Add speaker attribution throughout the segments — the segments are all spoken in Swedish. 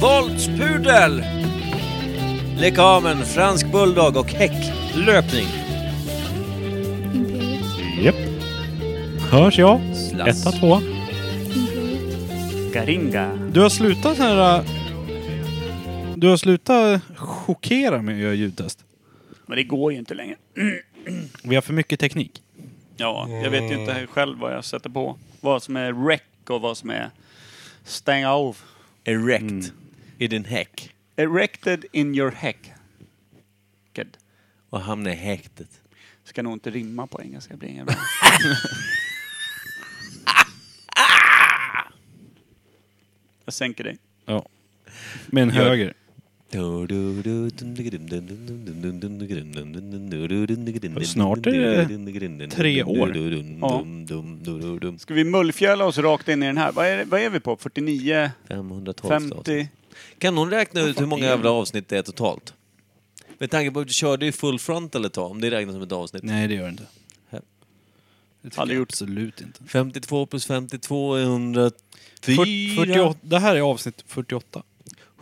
Speaker 1: voltspudel, lekamen, fransk bulldog och häcklöpning.
Speaker 2: Imperiet.
Speaker 3: Japp. Hörs jag?
Speaker 1: Slass.
Speaker 3: Etta, två.
Speaker 2: Imperiet.
Speaker 4: Garinga.
Speaker 5: Du har slutat så här... äh, Du har slutat chockera med att göra ljudtest.
Speaker 4: Men det går ju inte längre.
Speaker 5: Vi har för mycket teknik.
Speaker 4: Ja, jag vet ju inte själv vad jag sätter på. Vad som är rec och vad som är stänga av.
Speaker 1: Erect i din häck
Speaker 4: Erected in your heck. Good.
Speaker 1: och hamna i häktet.
Speaker 4: Ska nog inte rimma på engelska, det blir ingen bra. Jag sänker dig.
Speaker 5: Ja. Med en höger. Snart är det tre år.
Speaker 4: Ja. Ska vi mullfjäla oss rakt in i den här? Vad är, vad är vi på? 49,
Speaker 1: 512 stater.
Speaker 4: 50?
Speaker 1: Kan hon räkna ut hur många jävla avsnitt det är totalt? Med tanke på att du körde i full frontal ett tag, om det räknas som ett avsnitt.
Speaker 5: Nej, det gör det inte.
Speaker 1: Här.
Speaker 5: Det tycker
Speaker 4: Aldrig
Speaker 5: jag
Speaker 4: gjort.
Speaker 5: absolut inte.
Speaker 1: 52 plus 52 är 104.
Speaker 5: Fyrt- 48, det här är avsnitt 48.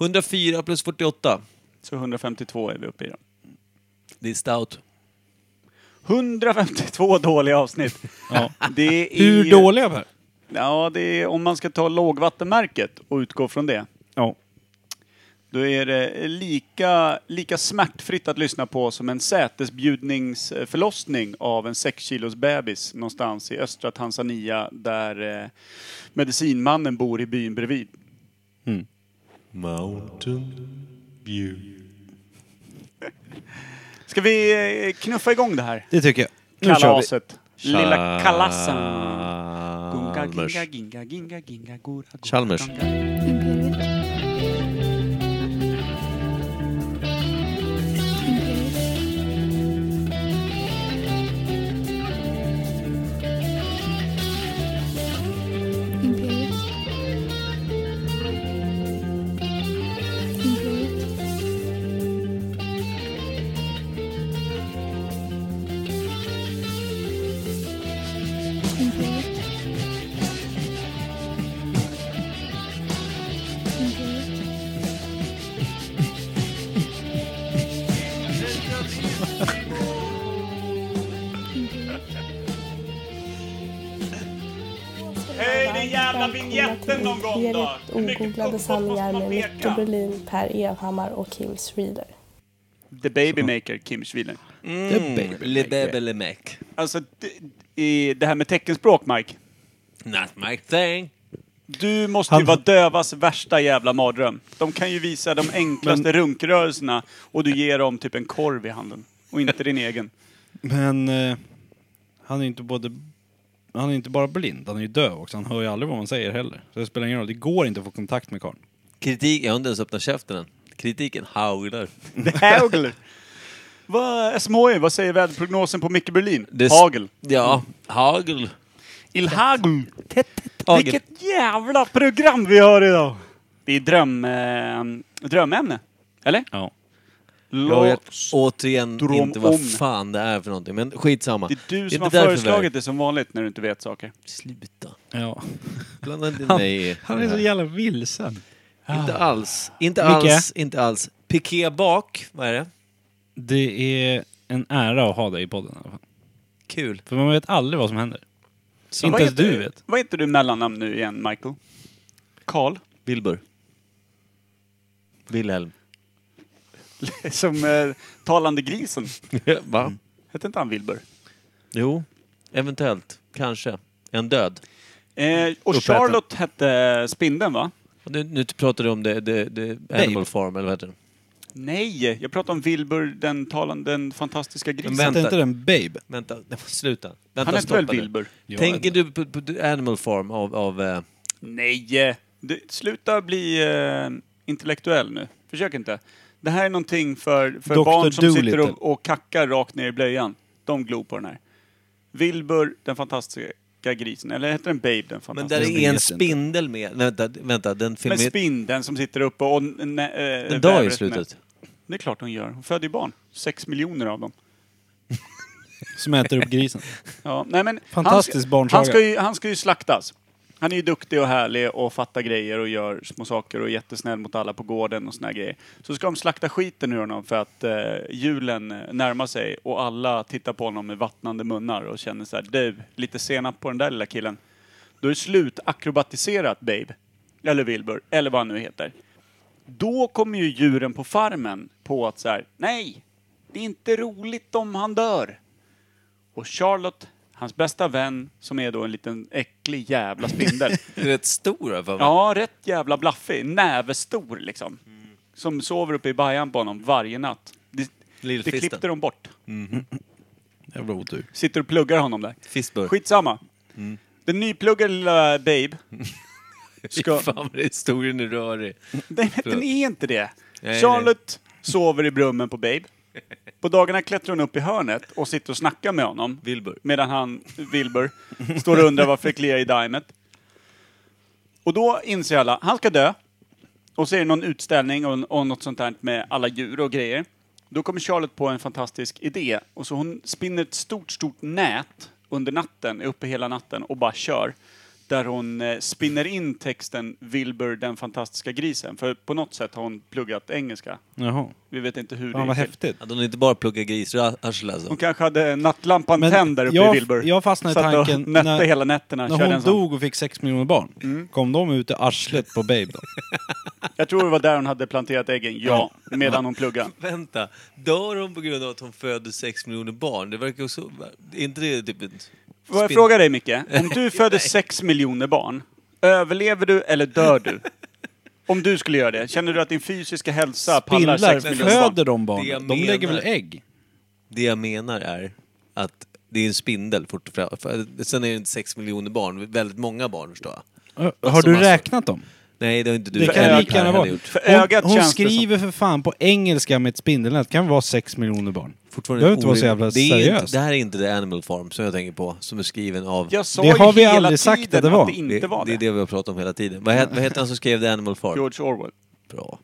Speaker 1: 104 plus 48.
Speaker 4: Så 152 är vi uppe i då.
Speaker 1: Det är stout.
Speaker 4: 152 dåliga avsnitt.
Speaker 5: Ja.
Speaker 4: Det är,
Speaker 5: Hur dåliga Per?
Speaker 4: Ja, det är, om man ska ta lågvattenmärket och utgå från det.
Speaker 5: Ja.
Speaker 4: Då är det lika, lika smärtfritt att lyssna på som en sätesbjudningsförlossning av en 6 kilos bebis någonstans i östra Tanzania där eh, medicinmannen bor i byn bredvid. Ska vi eh, knuffa igång det här?
Speaker 5: Det tycker jag. Nu kör vi.
Speaker 4: Kalaset. Lilla kalasen. Gunga,
Speaker 1: Chalmers.
Speaker 4: ginga, ginga, ginga, ginga, gora, gora,
Speaker 1: Chalmers.
Speaker 4: ganga.
Speaker 2: Imperiet. Imperiet. Imperiet. Imperiet. Imperiet. Imperiet.
Speaker 4: Höj den jävla vignetten någon gång då! Hur mycket
Speaker 6: Ogooglade
Speaker 4: uppåt måste
Speaker 6: sanningar
Speaker 4: man
Speaker 6: med
Speaker 4: peka?
Speaker 6: Viktor Berlin, Per Evhammar och Kim Schreeder.
Speaker 4: The Babymaker, Kim Schwiler.
Speaker 1: Mm. Lebebelemek.
Speaker 4: Alltså, d- i det här med teckenspråk, Mike.
Speaker 1: Not my thing.
Speaker 4: Du måste ju vara dövas värsta jävla mardröm. De kan ju visa de enklaste runkrörelserna och du ger dem typ en korv i handen. Och inte din egen.
Speaker 5: Men eh, han är ju inte både... Han är inte bara blind, han är ju döv också. Han hör ju aldrig vad man säger heller. Så det spelar ingen roll. Det går inte att få kontakt med karln.
Speaker 1: Kritik, jag har inte ens öppnat käften än. Kritiken haglar.
Speaker 4: Hagel! Vad, SMHI, vad säger väderprognosen på Micke Berlin?
Speaker 1: Det s-
Speaker 4: Hagel.
Speaker 1: Ja, hagel.
Speaker 4: Ilhagel.
Speaker 1: Hagel.
Speaker 4: Vilket jävla program vi har idag! Det är dröm, eh, drömämne. Eller?
Speaker 5: Ja.
Speaker 1: Jag
Speaker 4: Låt
Speaker 1: vet återigen
Speaker 4: Dröm
Speaker 1: inte vad
Speaker 4: om.
Speaker 1: fan det är för någonting, men skitsamma.
Speaker 4: Det är du
Speaker 1: inte
Speaker 4: som har
Speaker 1: därför vi är-
Speaker 4: föreslagit det som vanligt när du inte vet saker.
Speaker 1: Sluta.
Speaker 5: ja.
Speaker 1: Blanda inte mig i det här.
Speaker 5: jävla vilsen.
Speaker 1: Inte alls. Inte
Speaker 5: Micke?
Speaker 1: alls. Inte alls. Piké bak. Vad är det?
Speaker 5: Det är en ära att ha dig i podden i alla fall.
Speaker 1: Kul.
Speaker 5: För man vet aldrig vad som händer. inte
Speaker 4: Vad
Speaker 5: ens
Speaker 4: heter-
Speaker 5: du vet.
Speaker 4: Vad heter du mellannamn nu igen, Michael? Karl?
Speaker 1: Wilbur. Wilhelm.
Speaker 4: Som eh, talande grisen. Mm.
Speaker 1: Va?
Speaker 4: Hette inte han Wilbur?
Speaker 1: Jo. Eventuellt. Kanske. En död.
Speaker 4: Eh, och
Speaker 1: Uppäten.
Speaker 4: Charlotte hette spindeln va?
Speaker 1: Och Nu, nu pratar du om det, det, det Animal Farm, eller vad heter det?
Speaker 4: Nej, jag pratar om Wilbur, den talande, den fantastiska grisen.
Speaker 1: Men vänta.
Speaker 5: Hette inte den Babe?
Speaker 1: Vänta, nej, men sluta. Vänta,
Speaker 4: han hette väl
Speaker 1: stoppa nu.
Speaker 4: Wilbur?
Speaker 5: Ja,
Speaker 1: Tänker du på, på på Animal Farm av... av eh,
Speaker 4: Nej! eh, Du, sluta bli eh, intellektuell nu. Försök inte. Det här är någonting för, för
Speaker 5: Dr.
Speaker 4: barn som sitter
Speaker 5: Dolittle.
Speaker 4: och, och kackar rakt ner i blöjan. De glor på den här. Wilbur, den fantastiska grisen. Eller heter den Babe, den
Speaker 1: men där
Speaker 4: fantastiska?
Speaker 1: är en
Speaker 5: inte.
Speaker 1: spindel med. Nej, Vänta, vänta den
Speaker 4: Men
Speaker 1: filmen...
Speaker 4: spindeln som sitter uppe och... eh, Den
Speaker 1: den dör i slutet.
Speaker 4: Det är klart hon gör. Hon föder ju barn. Sex miljoner av dem.
Speaker 5: Som äter upp grisen.
Speaker 4: Ja, nej men
Speaker 5: Fantastisk
Speaker 4: han ska,
Speaker 5: barnsaga.
Speaker 4: han ska, ju, han ska ju slaktas. Han är ju duktig och härlig och fattar grejer och gör små saker och är jättesnäll mot alla på gården och såna här grejer. Så ska de slakta skiten ur honom för att eh, julen närmar sig och alla tittar på honom med vattnande munnar och känner så här, du, lite senap på den där lilla killen. Då är det slut akrobatiserat Babe, eller Wilbur, eller vad han nu heter. Då kommer ju djuren på farmen på att så här, nej, det är inte roligt om han dör. Och Charlotte, hans bästa vän, som är då en liten äcklig jävla spindel.
Speaker 1: Det är rätt stor här för mig.
Speaker 4: ja, rätt jävla blaffig. Nävestor liksom. Som sover uppe i bajan på honom varje natt. Det, det
Speaker 1: Lillfisten.
Speaker 4: klippte de bort.
Speaker 5: Jävla otur.
Speaker 4: Sitter och pluggar honom där.
Speaker 1: Fistburg.
Speaker 4: Skitsamma.
Speaker 1: Mm.
Speaker 4: Den nypluggade lilla Babe.
Speaker 1: Fy fan vad historien är rörig.
Speaker 4: Nej, men den är inte det.
Speaker 1: Nej,
Speaker 4: Charlotte sover i brummen på Babe. På dagarna klättrar hon upp i hörnet och sitter och snackar med honom.
Speaker 1: Wilbur.
Speaker 4: Medan han, Wilbur, står och undrar varför det kliar i dimet. Och då inser alla, han ska dö. Och så är det någon utställning och, och något sånt där med alla djur och grejer. Då kommer Charlotte på en fantastisk idé. Och så hon spinner ett stort, stort nät under natten, är uppe hela natten och bara kör. Där hon eh, spinner in texten Wilbur den fantastiska grisen. För på något sätt har hon pluggat engelska.
Speaker 5: Jaha.
Speaker 4: Vi vet inte hur
Speaker 5: Fan
Speaker 4: det
Speaker 5: vad
Speaker 4: gick till.
Speaker 5: häftigt.
Speaker 1: Att de inte bara pluggar grisarsle alltså.
Speaker 4: Hon kanske hade nattlampan tänd där uppe i
Speaker 5: jag,
Speaker 4: Wilbur.
Speaker 5: jag fastnade i
Speaker 4: Satt och
Speaker 5: tanken
Speaker 4: nötte hela nätterna.
Speaker 5: när
Speaker 4: körde
Speaker 5: hon
Speaker 4: en sån. Mm.
Speaker 5: dog och fick sex miljoner barn. Kom de ut i arslet på Babe då?
Speaker 4: Jag tror det var där hon hade planterat äggen, ja. Medan hon pluggade.
Speaker 1: Vänta, dör hon på grund av att hon föder sex miljoner barn? Det verkar också... Är inte det typ ett...
Speaker 4: Får jag
Speaker 1: spin-
Speaker 4: fråga dig Micke? Om du föder sex miljoner barn, överlever du eller dör du? Om du skulle göra det, känner du att din fysiska hälsa pallar
Speaker 5: Spindlar,
Speaker 4: sex miljoner barn?
Speaker 5: föder de
Speaker 1: Det jag
Speaker 5: barnen? De
Speaker 1: menar.
Speaker 5: lägger väl ägg?
Speaker 1: Det jag menar är att det är en spindel fortfarande. För- Sen är det inte sex miljoner barn, väldigt många barn förstår jag.
Speaker 5: Ö, Har
Speaker 1: Massor,
Speaker 5: du
Speaker 1: massor.
Speaker 5: räknat dem?
Speaker 1: Nej, det har inte du
Speaker 5: Alltså, Det
Speaker 1: heller,
Speaker 5: kan lika
Speaker 1: Per,
Speaker 5: gärna
Speaker 1: heller
Speaker 5: vara.
Speaker 1: gjort.
Speaker 4: För ögat
Speaker 5: hon hon
Speaker 4: känns det som-
Speaker 5: skriver för fan på engelska med ett spindelnät. kan vara sex miljoner barn.
Speaker 1: Fortfarande
Speaker 5: Behöver inte vara så
Speaker 1: orimligt.
Speaker 5: jävla
Speaker 1: det, är ju inte,
Speaker 5: seriöst.
Speaker 1: det här är inte The Animal Farm som jag tänker på, som är skriven av...
Speaker 4: Jag sa
Speaker 5: Det
Speaker 4: ju
Speaker 5: har vi
Speaker 4: hela
Speaker 5: aldrig sagt
Speaker 4: tiden
Speaker 5: att det var.
Speaker 4: Att det inte
Speaker 1: det,
Speaker 4: var
Speaker 1: det
Speaker 4: det.
Speaker 1: är det vi har pratat om hela tiden. Vad hette, vad hette han som skrev The Animal Farm?
Speaker 4: George Orwell.
Speaker 1: Bra.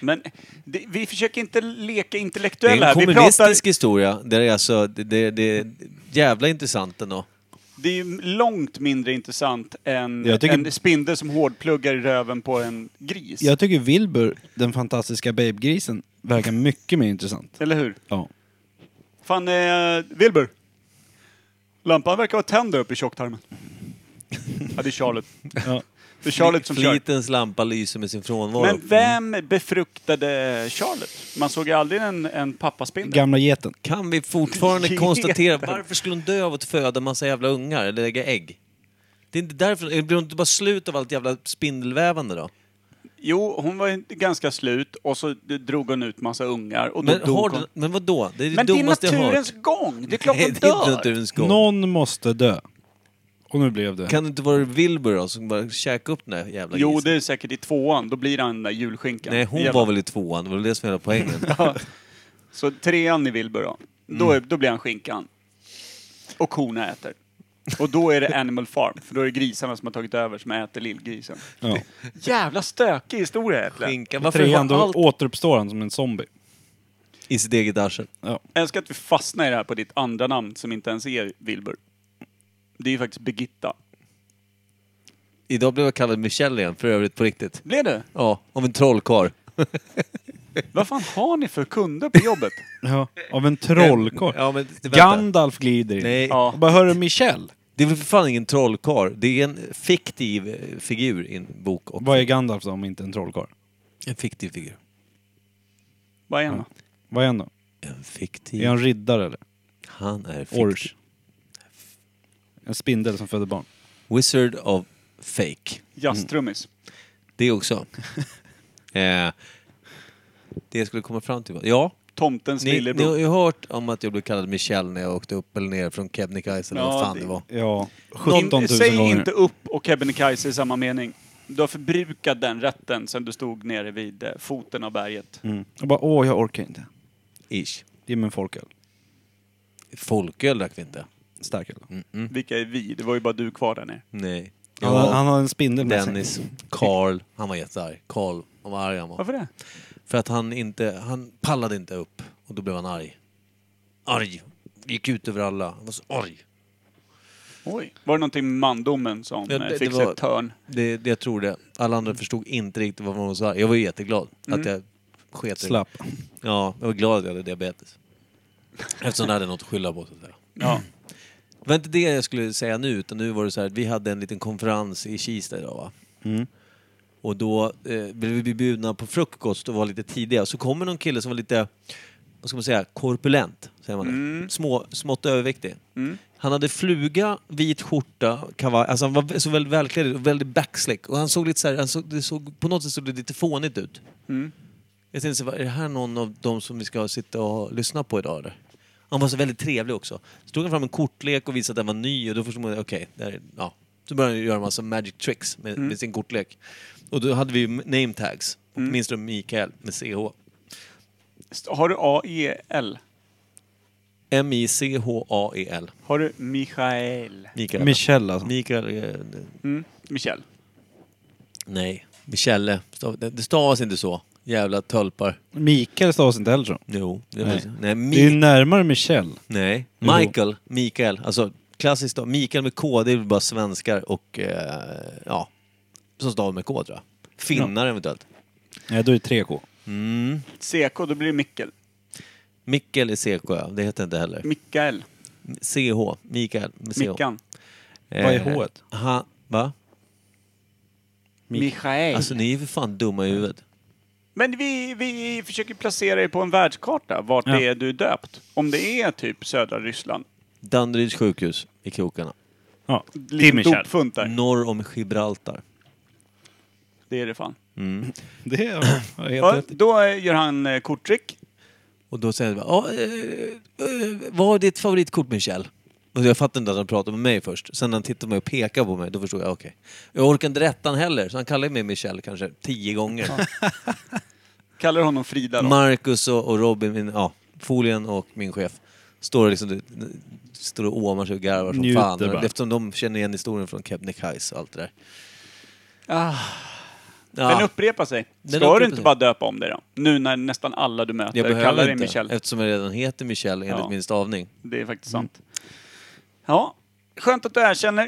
Speaker 4: Men det, vi försöker inte leka
Speaker 1: Det
Speaker 4: intellektuella
Speaker 1: är en
Speaker 4: här. Vi pratar,
Speaker 1: kommunistisk historia. Där är alltså, det, det, det är jävla intressant ändå.
Speaker 4: det är ju långt mindre intressant än
Speaker 5: Jag tycker-
Speaker 4: en spindel som hårdpluggar i röven på en gris.
Speaker 5: Jag tycker Wilbur, den fantastiska babegrisen, verkar mycket mer intressant.
Speaker 4: Eller hur?
Speaker 5: Ja.
Speaker 4: Fan, eh, Wilbur. Lampan verkar vara tänd där uppe i tjocktarmen. ja, det är Charlotte.
Speaker 5: Ja.
Speaker 4: Det är Charlotte som kör.
Speaker 1: Flitens lampa lyser med sin frånvaro.
Speaker 4: Men vem befruktade Charlotte? Man såg ju aldrig en, en pappaspindel.
Speaker 5: Gamla geten.
Speaker 1: Kan vi fortfarande
Speaker 4: Geten.
Speaker 1: konstatera varför skulle hon dö av att föda massa jävla ungar eller lägga ägg? Det är inte därför... Blir hon inte bara slut av allt jävla spindelvävande då?
Speaker 4: jo, hon var ju ganska slut och så drog hon ut massa ungar och då
Speaker 1: Men,
Speaker 4: dog
Speaker 1: har
Speaker 4: hon.
Speaker 1: du, men vadå? Det är det
Speaker 4: Men det är
Speaker 1: dummaste jag har hört.
Speaker 4: naturens gång! Det är klart hon
Speaker 1: Nej, det är inte
Speaker 4: dör!
Speaker 1: naturens gång.
Speaker 5: Någon måste dö. Och nu blev det.
Speaker 1: Kan det inte vara Wilbur då, som bara käkade upp den där jävla
Speaker 4: Jo,
Speaker 1: grisen?
Speaker 4: det är säkert i tvåan. Då blir han den där julskinkan.
Speaker 1: liksom. Nej, hon
Speaker 4: Jävla-
Speaker 1: var väl i tvåan, det var väl det som var hela poängen.
Speaker 4: Så trean i Wilbur då. Då, är, då blir han skinkan. Och korna äter. Och då är det Animal Farm, för då är det grisarna som har tagit över som äter lillgrisen.
Speaker 5: Ja.
Speaker 4: Jävla stökig historia egentligen.
Speaker 1: Skinkan. Varför
Speaker 5: Trean,
Speaker 1: har
Speaker 5: då
Speaker 1: allt
Speaker 5: återuppstår han som en zombie.
Speaker 1: i sitt eget arsel?
Speaker 5: Ja.
Speaker 4: Jag älskar att vi fastnar i det här på ditt andra namn som inte ens är Wilbur. Det är ju faktiskt Birgitta.
Speaker 1: Idag blev jag kallad Michelle igen, för övrigt på riktigt.
Speaker 4: Blev det?
Speaker 1: Ja, av en trollkarl.
Speaker 4: Vad fan har ni för kunder på jobbet?
Speaker 5: Ja. Av en trollkarl.
Speaker 1: Ja, men vänta.
Speaker 5: Gandalf glider in.
Speaker 1: Nej,
Speaker 4: Ja.
Speaker 5: Och bara, hörru Michel.
Speaker 1: det är väl för fan ingen trollkarl. Det är en fiktiv eh, figur i en bok. Och
Speaker 5: Vad är Gandalf då om inte en trollkarl?
Speaker 1: En fiktiv figur.
Speaker 4: Vad är han?
Speaker 5: Vad är han då?
Speaker 1: En
Speaker 5: Är
Speaker 1: fiktiv...
Speaker 5: han riddare eller?
Speaker 1: Han är fiktiv.
Speaker 5: Ors. En spindel som föder barn.
Speaker 1: Wizard of Fake.
Speaker 4: Jazztrummis.
Speaker 1: Det också. eh, det jag skulle komma fram till var... Ja,
Speaker 4: Tomtens
Speaker 1: Ni, ni har
Speaker 4: lillebror.
Speaker 1: ju hört om att jag blev kallad Michelle när jag åkte upp eller ner från Kebnekaise eller
Speaker 4: Ja,
Speaker 1: vad fan det,
Speaker 4: det-
Speaker 1: var.
Speaker 5: Ja, 17 000
Speaker 4: In- Säg
Speaker 5: gånger.
Speaker 4: inte upp och Kebnekaise i samma mening. Du har förbrukat den rätten sen du stod nere vid eh, foten av berget.
Speaker 5: Mm. Och bara, åh jag orkar inte.
Speaker 1: Ish.
Speaker 5: Ge mig en folköl.
Speaker 1: Folköl drack vi inte.
Speaker 5: Starköl.
Speaker 1: Mm.
Speaker 4: Vilka är vi? Det var ju bara du kvar där nere.
Speaker 1: Nej.
Speaker 5: Han,
Speaker 1: Jag,
Speaker 5: han har en spindel med sig.
Speaker 1: Dennis, Carl. Han var jättearg. Carl, han var arg han var.
Speaker 4: Varför det?
Speaker 1: För att han inte, han pallade inte upp och då blev han arg. Arg. Gick ut över alla. Han var så arg.
Speaker 4: Oj. Var det någonting med mandomen som
Speaker 1: Ja,
Speaker 4: ja,
Speaker 1: det- det
Speaker 4: fick sig
Speaker 1: var-
Speaker 4: ett törn?
Speaker 1: Det, det, jag tror det. Alla andra förstod inte riktigt vad man sa. Jag var ju jätteglad att jag sket i det.
Speaker 5: Slapp.
Speaker 1: Ja, jag var glad att jag hade diabetes. Eftersom jag hade något att skylla på. Så att säga.
Speaker 4: Ja.
Speaker 1: Det var inte det jag skulle säga nu, utan nu var det så här att vi hade en liten konferens i Kista idag va? Och då eh, blev vi bjudna på frukost och var lite tidiga. Så kommer någon kille som var lite, vad ska man säga, korpulent. Säger man det. Små, smått överviktig.
Speaker 4: Mm.
Speaker 1: Han hade fluga, vit skjorta, kavaj. Alltså han var så väldigt välklädd och väldigt backslick. Och han såg lite så här, han såg, det såg, på något sätt såg det lite fånigt ut. Jag tänkte, så här, är det här någon av de som vi ska sitta och lyssna på idag eller? Han var så väldigt trevlig också. Så tog han fram en kortlek och visade att den var ny och då förstod man, okej, det här är- ja. Så började han göra en massa magic tricks med, med sin kortlek. Och då hade vi ju name tags. Åtminstone Mikael med CH.
Speaker 4: Har du E A-E-L?
Speaker 1: M-I-C-H-A-E-L.
Speaker 4: Har du Michael?
Speaker 1: E Mikael.
Speaker 5: Michelle alltså.
Speaker 1: Mikael... eh,
Speaker 4: Mm. Michel.
Speaker 1: Nej. Michelle. Stav- Det det stavas inte så. Jävla tölpar.
Speaker 5: Mikael stavas inte heller så.
Speaker 1: Jo. Det är
Speaker 5: Nej.
Speaker 1: precis- Nej,
Speaker 5: Det är ju
Speaker 1: Mi-
Speaker 5: närmare Michelle.
Speaker 1: Nej.
Speaker 5: Jo.
Speaker 1: Michael. Mikael. Alltså klassiskt stav. Mikael med K, det är väl bara svenskar och... Eh, ja. Som stavar med K tror jag. Finnar eventuellt.
Speaker 5: Nej, då är det 3K.
Speaker 1: Mm.
Speaker 4: CK, då blir det Mikkel.
Speaker 1: Mikkel är CK, ja. det heter inte heller.
Speaker 4: Mikael.
Speaker 1: CH, Mikael. med CH.
Speaker 4: Mickan.
Speaker 1: Eh,
Speaker 5: Vad är H-et?
Speaker 1: Ha, va?
Speaker 4: Michael.
Speaker 1: Alltså ni är ju för fan dumma i huvudet.
Speaker 4: Men vi, vi försöker placera er på en världskarta, vart
Speaker 5: Ja.
Speaker 4: det är du är döpt. Om det är typ södra Ryssland.
Speaker 1: Danderyds sjukhus i krokarna.
Speaker 5: Ja.
Speaker 4: Lite
Speaker 5: Till Michelle.
Speaker 4: dopfunt där.
Speaker 1: Norr om Gibraltar.
Speaker 4: Det är det fan.
Speaker 5: Det är jag helt
Speaker 4: Ja,
Speaker 5: rätt i.
Speaker 4: då eh, gör han eh, korttrick.
Speaker 1: Och då säger jag ja, eh, eh, vad är ditt favoritkort Michel? Och jag fattade inte att han pratade med mig först. Sen när han tittade på mig och pekade på mig, då förstod jag, okej. Jag orkar inte rätta han heller, så han kallade mig Michel kanske tio gånger.
Speaker 4: Kallar honom Frida då.
Speaker 1: Marcus och, och Robin, min, ja, Folien och min chef, står och liksom, står och åmar sig och garvar som
Speaker 5: Njuter
Speaker 1: fan.
Speaker 5: bara.
Speaker 1: Eftersom de känner igen historien från Kebnekaise och allt det där.
Speaker 4: Ah, Den
Speaker 1: Ja,
Speaker 4: upprepar sig.
Speaker 1: Den
Speaker 4: Ska
Speaker 1: upprepar
Speaker 4: du inte
Speaker 1: sig.
Speaker 4: bara döpa om dig då? Nu när nästan alla du möter
Speaker 1: jag
Speaker 4: kallar
Speaker 1: behöver
Speaker 4: dig
Speaker 1: inte,
Speaker 4: Michel.
Speaker 1: eftersom jag Mm. redan heter Michel enligt
Speaker 4: Ja.
Speaker 1: min stavning.
Speaker 4: Det är faktiskt sant. Ja, skönt att du erkänner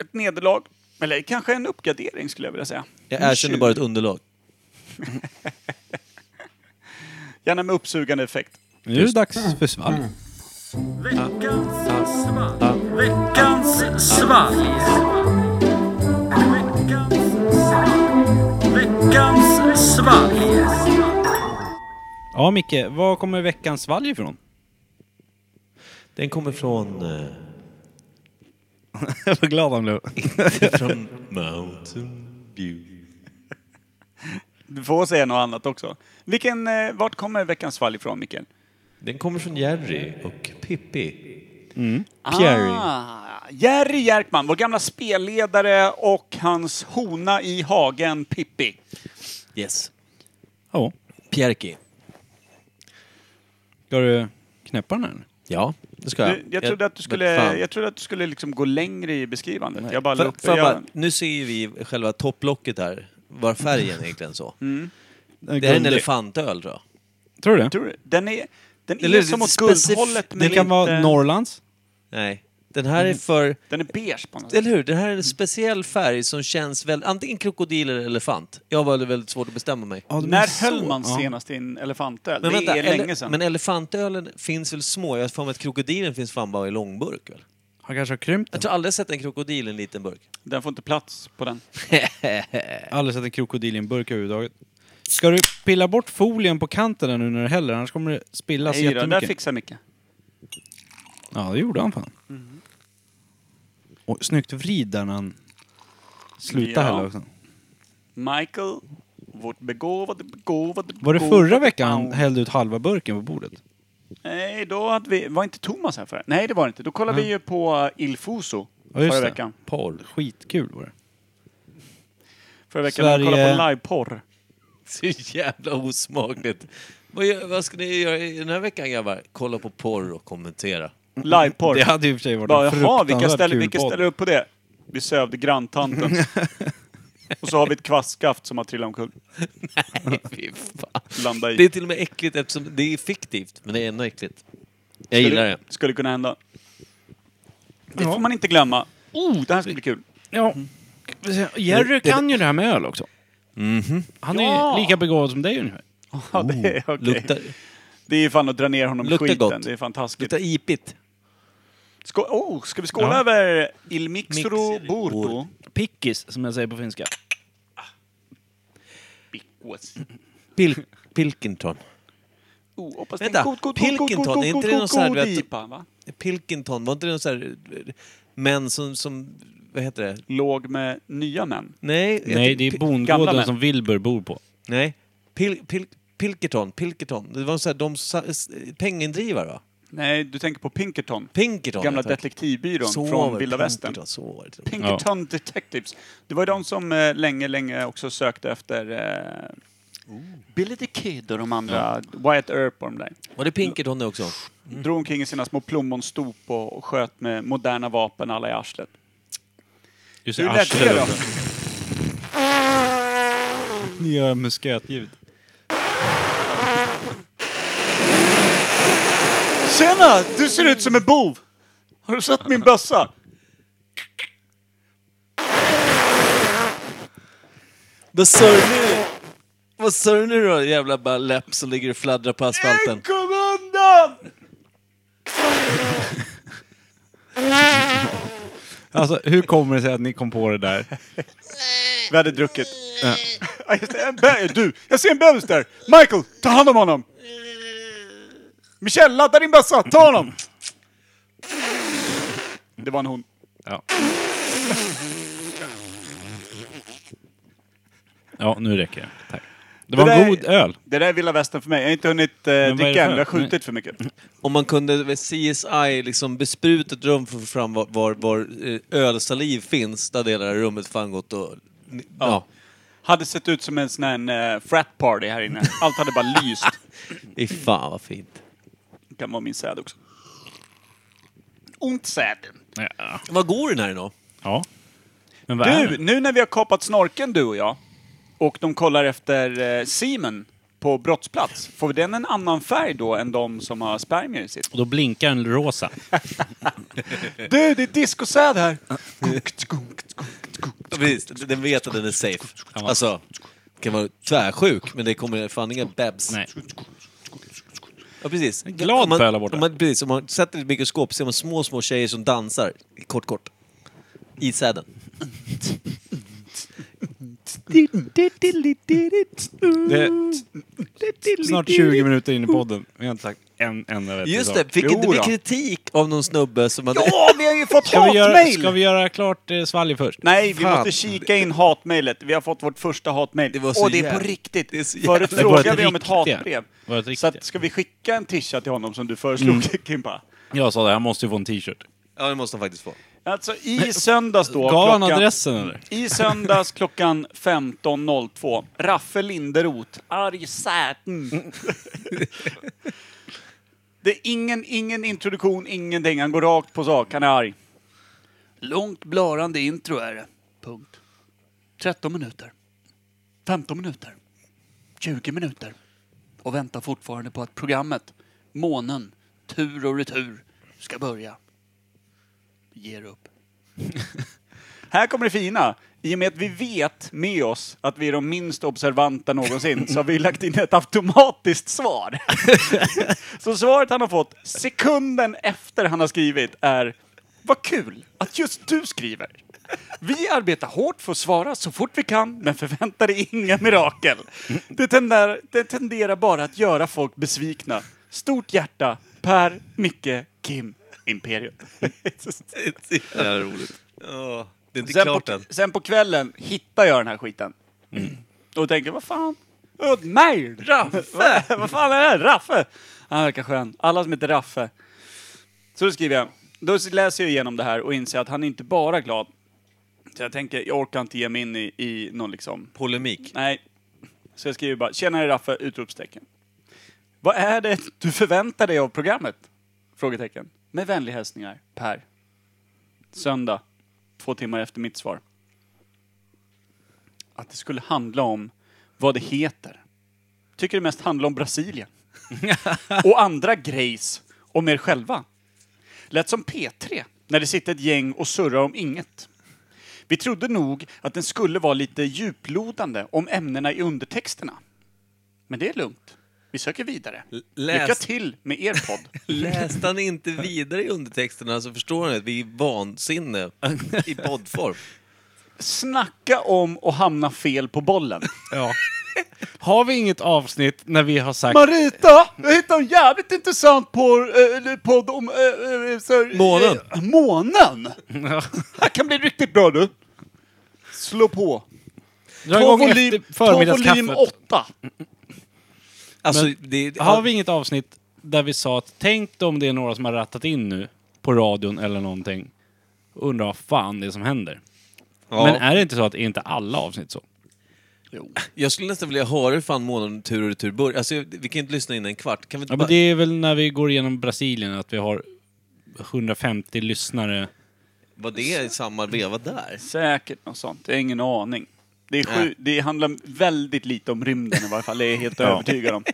Speaker 4: ett nederlag. Eller kanske en uppgradering skulle jag vilja säga.
Speaker 1: Jag
Speaker 4: En
Speaker 1: erkänner
Speaker 4: tjuv.
Speaker 1: bara ett underlag.
Speaker 4: Gärna med uppsugande effekt.
Speaker 5: Nu är det dags för svalg. Ja, Micke, var kommer veckans svalg ifrån?
Speaker 1: Den kommer från... eh,
Speaker 5: jag var glad han blev.
Speaker 1: från Mountain View.
Speaker 4: Du får säga något annat också. Vilken, eh, vart kommer veckans fall ifrån, Mikael?
Speaker 1: Den kommer från Jerry och Pippi. Pierre.
Speaker 4: Ah, Jerry Jerkman, vår gamla spelledare och hans hona i hagen Pippi.
Speaker 1: Yes.
Speaker 5: Ja.
Speaker 1: Pierki.
Speaker 5: Ska du knäppa den här? eller?
Speaker 1: Ja, det ska jag.
Speaker 4: Du, jag, trodde att du
Speaker 1: men
Speaker 4: skulle,
Speaker 1: fan.
Speaker 4: jag trodde att du skulle liksom gå längre i beskrivandet. Jag bara la
Speaker 1: För,
Speaker 4: upp
Speaker 1: för
Speaker 4: jag,
Speaker 1: bara, nu ser ju vi själva topplocket här, var färgen är egentligen så.
Speaker 4: Mm.
Speaker 1: Det här är en
Speaker 5: Guldig.
Speaker 1: elefantöl tror jag.
Speaker 5: Tror du det?
Speaker 4: tror, du? Den är, den
Speaker 1: Eller
Speaker 4: är som åt
Speaker 1: specif-
Speaker 4: guldhållet men
Speaker 5: Det kan
Speaker 4: inte,
Speaker 5: vara Norrlands.
Speaker 1: Nej. Den här
Speaker 4: Mm.
Speaker 1: är för,
Speaker 4: Den är beige på något sätt.
Speaker 1: eller hur? Den här är en speciell färg som känns väl, antingen krokodil eller elefant. Jag var väldigt svårt att bestämma mig.
Speaker 5: Ja, de är
Speaker 4: När
Speaker 5: så-
Speaker 4: höll man
Speaker 5: ja.
Speaker 4: senast in elefantöl?
Speaker 1: Men
Speaker 4: det
Speaker 1: vänta,
Speaker 4: är
Speaker 1: ele-
Speaker 4: länge sedan.
Speaker 1: men elefantölen finns väl små? Jag har för mig att krokodilen finns fan bara i långburk väl?
Speaker 5: Han kanske har krympt den.
Speaker 1: Jag tror aldrig jag sett en krokodil i en liten burk.
Speaker 4: Den får inte plats på den.
Speaker 5: Aldrig sett en krokodil i en burk överhuvudtaget. Ska du pilla bort folien på kanten där nu när du häller? Annars kommer det spillas
Speaker 4: Nej, den där
Speaker 5: jättemycket.
Speaker 4: fixar Micke.
Speaker 5: Ja, det gjorde han fan.
Speaker 4: Mhm.
Speaker 5: Och snyggt vrid där när han slutade
Speaker 4: Ja.
Speaker 5: hälla också.
Speaker 4: Michael, vårt begåvade, begåvade,
Speaker 5: Var det
Speaker 4: begåvade
Speaker 5: förra veckan han
Speaker 4: barn.
Speaker 5: hällde ut halva burken på bordet?
Speaker 4: Nej, då hade vi... Var inte Thomas här förra? Nej, det var det inte. Då kollade vi ju på Il Fuso
Speaker 5: Ja, just
Speaker 4: förra
Speaker 5: det.
Speaker 4: veckan.
Speaker 1: Porr.
Speaker 5: Skitkul var det.
Speaker 4: Förra veckan
Speaker 5: Sverige- Mm.
Speaker 4: Sverige... kollade på liveporr.
Speaker 1: Så jävla osmakligt. Vad, gör, vad ska ni göra i den här veckan grabbar? Kolla på porr och kommentera.
Speaker 4: Liveporr.
Speaker 5: Det hade i och för sig varit
Speaker 4: Bara,
Speaker 5: en
Speaker 4: Jaha,
Speaker 5: fruktansvärt
Speaker 4: vilka ställer,
Speaker 5: kul
Speaker 4: vilka
Speaker 5: podd.
Speaker 4: ställer upp på det? Vi sövde granntanten. och så har vi ett kvastskaft som har trillat omkull.
Speaker 1: Nej, fy fan.
Speaker 4: Landa i.
Speaker 1: Det är till och med äckligt eftersom det är fiktivt, men det är ändå äckligt. Jag gillar det.
Speaker 4: Skulle, skulle kunna hända. Det
Speaker 5: Ja.
Speaker 4: får man inte glömma. Oh, det här ska bli kul!
Speaker 5: Ja.
Speaker 4: Mm.
Speaker 5: Jerry kan ju det här med öl också. Han är
Speaker 4: Mhm. Ja.
Speaker 5: ju lika begåvad som dig ungefär.
Speaker 4: Ja,
Speaker 5: Oh,
Speaker 4: det, är, okej.
Speaker 1: Luktar,
Speaker 4: det är ju fan att dra ner honom i
Speaker 1: Luktar
Speaker 4: skiten.
Speaker 1: gott.
Speaker 4: Det är fantastiskt.
Speaker 1: luktar ipigt.
Speaker 4: Skå- oh, ska vi skåla
Speaker 5: Ja.
Speaker 4: över Il Mixro
Speaker 1: Mix-
Speaker 4: Burpo?
Speaker 1: Bur-
Speaker 5: Pickis, som jag säger på finska.
Speaker 4: Pickos.
Speaker 1: Pil- Pilkington.
Speaker 4: Oh, hoppas det är
Speaker 1: Vänta,
Speaker 4: en god, god, god, god,
Speaker 1: Pilkington,
Speaker 4: god, god,
Speaker 1: är inte det
Speaker 4: god,
Speaker 1: någon sån här,
Speaker 4: god
Speaker 1: du vet-
Speaker 4: IPA, va?
Speaker 1: Pilkington, var inte det någon sån här eh, män som, som... Vad heter det?
Speaker 4: Låg med nya män.
Speaker 1: Nej. jag
Speaker 5: Nej,
Speaker 1: tyck-
Speaker 5: det är
Speaker 1: pi-
Speaker 4: gamla män.
Speaker 5: bondgården som Wilbur bor på.
Speaker 1: Nej. Pil, pil, Pilkerton, Pilkerton. Det var så här, de sa- s- pengendrivare va?
Speaker 4: Nej, du tänker på Pinkerton.
Speaker 1: Pinkerton.
Speaker 4: Gamla
Speaker 1: heter det.
Speaker 4: detektivbyrån
Speaker 1: Så var
Speaker 4: från
Speaker 1: det,
Speaker 4: vilda västern.
Speaker 1: Pinkerton, så var det.
Speaker 4: Pinkerton Detectives. Det var ju de som eh, länge, länge också sökte efter eh, Billy the Kid och de andra, Wyatt Earp och de där.
Speaker 1: Var det Pinkerton det också?
Speaker 4: Drog omkring i sina små plommonstop och, och sköt med moderna vapen alla i arslet.
Speaker 5: Just
Speaker 4: Hur lät det då?
Speaker 5: Ni gör musketljud.
Speaker 4: Tjena! Du ser ut som en bov! Har du sett min bössa?
Speaker 1: Vad sa du nu? Vad sa du nu då jävla bara läpp som ligger och fladdrar på asfalten?
Speaker 4: Kom undan!
Speaker 5: Alltså, hur kommer det sig att ni kom på det där?
Speaker 4: Vi hade druckit. Ja, just det, en bä- du, jag ser en bebis där! Michael, ta hand om honom! Michelle, ladda din bössa! Ta honom! Det var en hon.
Speaker 5: Ja. Ja, nu räcker det. Tack. Det var
Speaker 4: Det
Speaker 5: en
Speaker 4: där-
Speaker 5: god öl.
Speaker 4: Det där är vilda västern för mig. Jag har inte hunnit eh,
Speaker 5: vad är det
Speaker 4: dricka än,
Speaker 5: för?
Speaker 4: jag har skjutit för mycket.
Speaker 1: Om man kunde med CSI liksom bespruta ett rum för att få fram var, var, var eh, ölsaliv finns, där hade hela det här rummet fan gått och... Ja.
Speaker 4: Hade sett ut som en sån här eh, frat party här inne. Allt hade bara lyst.
Speaker 1: Fy fan vad fint.
Speaker 4: kan vara min säd också. Ont säden.
Speaker 5: Ja.
Speaker 1: Vad går den här idag?
Speaker 5: ja. Men vad är
Speaker 4: Du,
Speaker 5: det?
Speaker 4: nu när vi har kapat snorken du och jag och de kollar efter eh, semen på brottsplats, får den en annan färg då än de som har spermier i sitt?
Speaker 5: Och då blinkar en rosa.
Speaker 4: Du, det är discosäd här!
Speaker 1: Precis, den vet att den är safe. Alltså, det kan vara tvärsjuk, men det kommer fan inga bebs.
Speaker 5: Nej.
Speaker 1: Ja, precis.
Speaker 5: glad
Speaker 1: Om man-
Speaker 5: pöl här borta.
Speaker 1: Om man, precis, om man sätter ett mikroskop ser man små, små tjejer som dansar, kort, kort. I säden.
Speaker 5: Det är snart 20 minuter in i podden. Vi har inte sagt en enda vettig
Speaker 1: Just
Speaker 5: sak.
Speaker 1: det, fick inte
Speaker 4: Jo
Speaker 1: vi
Speaker 4: då.
Speaker 1: kritik av någon snubbe som hade...
Speaker 4: Ja, vi har ju fått
Speaker 5: Ska vi, göra,
Speaker 4: hatmejl!
Speaker 5: ska vi göra klart eh, svalg först?
Speaker 4: Nej, vi
Speaker 1: Fan.
Speaker 4: måste kika in hatmejlet. Vi har fått vårt första hatmejl.
Speaker 1: Det var så
Speaker 4: Och det är på
Speaker 1: jävla-
Speaker 4: riktigt.
Speaker 1: Det är så
Speaker 4: Förut
Speaker 5: jävla- Det var
Speaker 4: frågade
Speaker 5: ett
Speaker 4: vi om ett Mm.
Speaker 5: riktiga.
Speaker 4: hatbrev.
Speaker 5: Det var ett
Speaker 4: Så
Speaker 5: riktiga.
Speaker 4: att, ska vi skicka en tisha till honom som du föreslog, Kimpa?
Speaker 5: Jag sa det, han måste ju få en t-shirt.
Speaker 1: Ja, det måste han faktiskt få.
Speaker 4: Alltså i söndags då...
Speaker 5: Gav han
Speaker 4: klockan-
Speaker 5: adressen eller?
Speaker 4: I söndags klockan 15.02. Raffe Linderoth, arg säten. Det är ingen, ingen introduktion, ingenting. Han går rakt på sak. Han är arg. Långt blörande intro är det. Punkt. 13 minuter. 15 minuter. 20 minuter. Och väntar fortfarande på att programmet, månen, tur och retur, ska börja. Ger upp. Här kommer det fina. I och med att vi vet med oss att vi är de minst observanta någonsin så har vi lagt in ett automatiskt svar. så svaret han har fått sekunden efter han har skrivit är Vad kul att just du skriver. Vi arbetar hårt för att svara så fort vi kan men förväntar dig inga mirakel. Det tenderar, det tenderar bara att göra folk besvikna. Stort hjärta, Per, Micke, Kim, Imperium.
Speaker 1: Det är roligt. Ja, det är inte
Speaker 4: Sen
Speaker 1: klart Mm.
Speaker 4: på,
Speaker 1: än.
Speaker 4: sen på kvällen hittar jag den här skiten. Och tänker, vad fan? Åh, Nej, Raffe! vad fan är det här? Raffe! Han verkar skön. Alla som heter Raffe. Så då skriver jag. Då läser jag igenom det här och inser att han är inte bara glad. Så jag tänker, jag orkar inte ge mig in i, i någon liksom
Speaker 1: Polemik.
Speaker 4: Nej. Så jag skriver bara, tjenare Raffe! Utropstecken. Vad är det du förväntar dig av programmet? Frågetecken. Med vänliga hälsningar, Per. Söndag, två timmar efter mitt svar. Att det skulle handla om vad det heter. Tycker det mest handlar om Brasilien. Och andra grejs om er själva. Lät som P3, när det sitter ett gäng och surrar om inget. Vi trodde nog att den skulle vara lite djuplodande om ämnena i undertexterna. Men det är lugnt. Vi söker vidare.
Speaker 1: L- läs.
Speaker 4: Lycka till med er podd.
Speaker 1: Läste han inte vidare i undertexterna så förstår han att vi är vansinne i poddform.
Speaker 4: Snacka om att hamna fel på bollen.
Speaker 5: Ja. Har vi inget avsnitt när vi har sagt...
Speaker 4: Marita! Jag hittade en jävligt intressant por, eh, podd om... eh, eh, så, här, eh,
Speaker 1: Månen.
Speaker 4: månen! Det kan bli riktigt bra du. Slå på.
Speaker 5: Dra
Speaker 4: Ta
Speaker 5: igång
Speaker 4: volym,
Speaker 5: efter
Speaker 4: ta volym
Speaker 5: förmiddagskaffet.
Speaker 4: 8.
Speaker 1: Alltså, det,
Speaker 5: Har vi inget avsnitt där vi sa att tänk om det är några som har rattat in nu på radion eller någonting. och Undrar vad fan det är som händer.
Speaker 1: ja,
Speaker 5: Men är det inte så att är inte alla avsnitt så?
Speaker 1: Jag skulle nästan vilja höra hur fan månaden tur och retur börjar. Alltså, vi kan ju inte lyssna in en kvart. Kan vi inte
Speaker 5: Ja,
Speaker 1: bara...
Speaker 5: men det är väl när vi går igenom Brasilien att vi har 150 lyssnare.
Speaker 1: Var det i samma veva där?
Speaker 4: Säkert något sånt. Jag har ingen aning. Det, är sju,
Speaker 1: Nej.
Speaker 4: det handlar väldigt lite om rymden i varje fall. Det är jag helt övertygad om.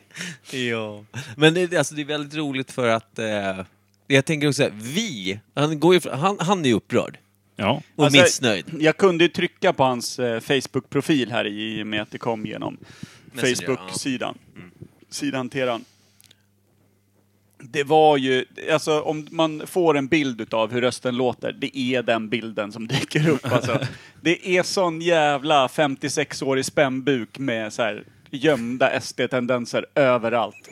Speaker 1: Ja. Men det, alltså, det är väldigt roligt för att... Eh, jag tänker också här, vi... Han, går ju, fr- han, han är ju upprörd.
Speaker 5: Ja.
Speaker 1: Och
Speaker 4: Alltså,
Speaker 1: missnöjd.
Speaker 4: Jag kunde ju trycka på hans eh, Facebook-profil här i och med att det kom genom
Speaker 1: Messenger,
Speaker 4: Facebook-sidan. Sidhanteraren. Det var ju, alltså om man får en bild utav hur rösten låter, det är den bilden som dyker upp alltså. Det är sån jävla 56-årig spännbuk med så här gömda SD-tendenser överallt.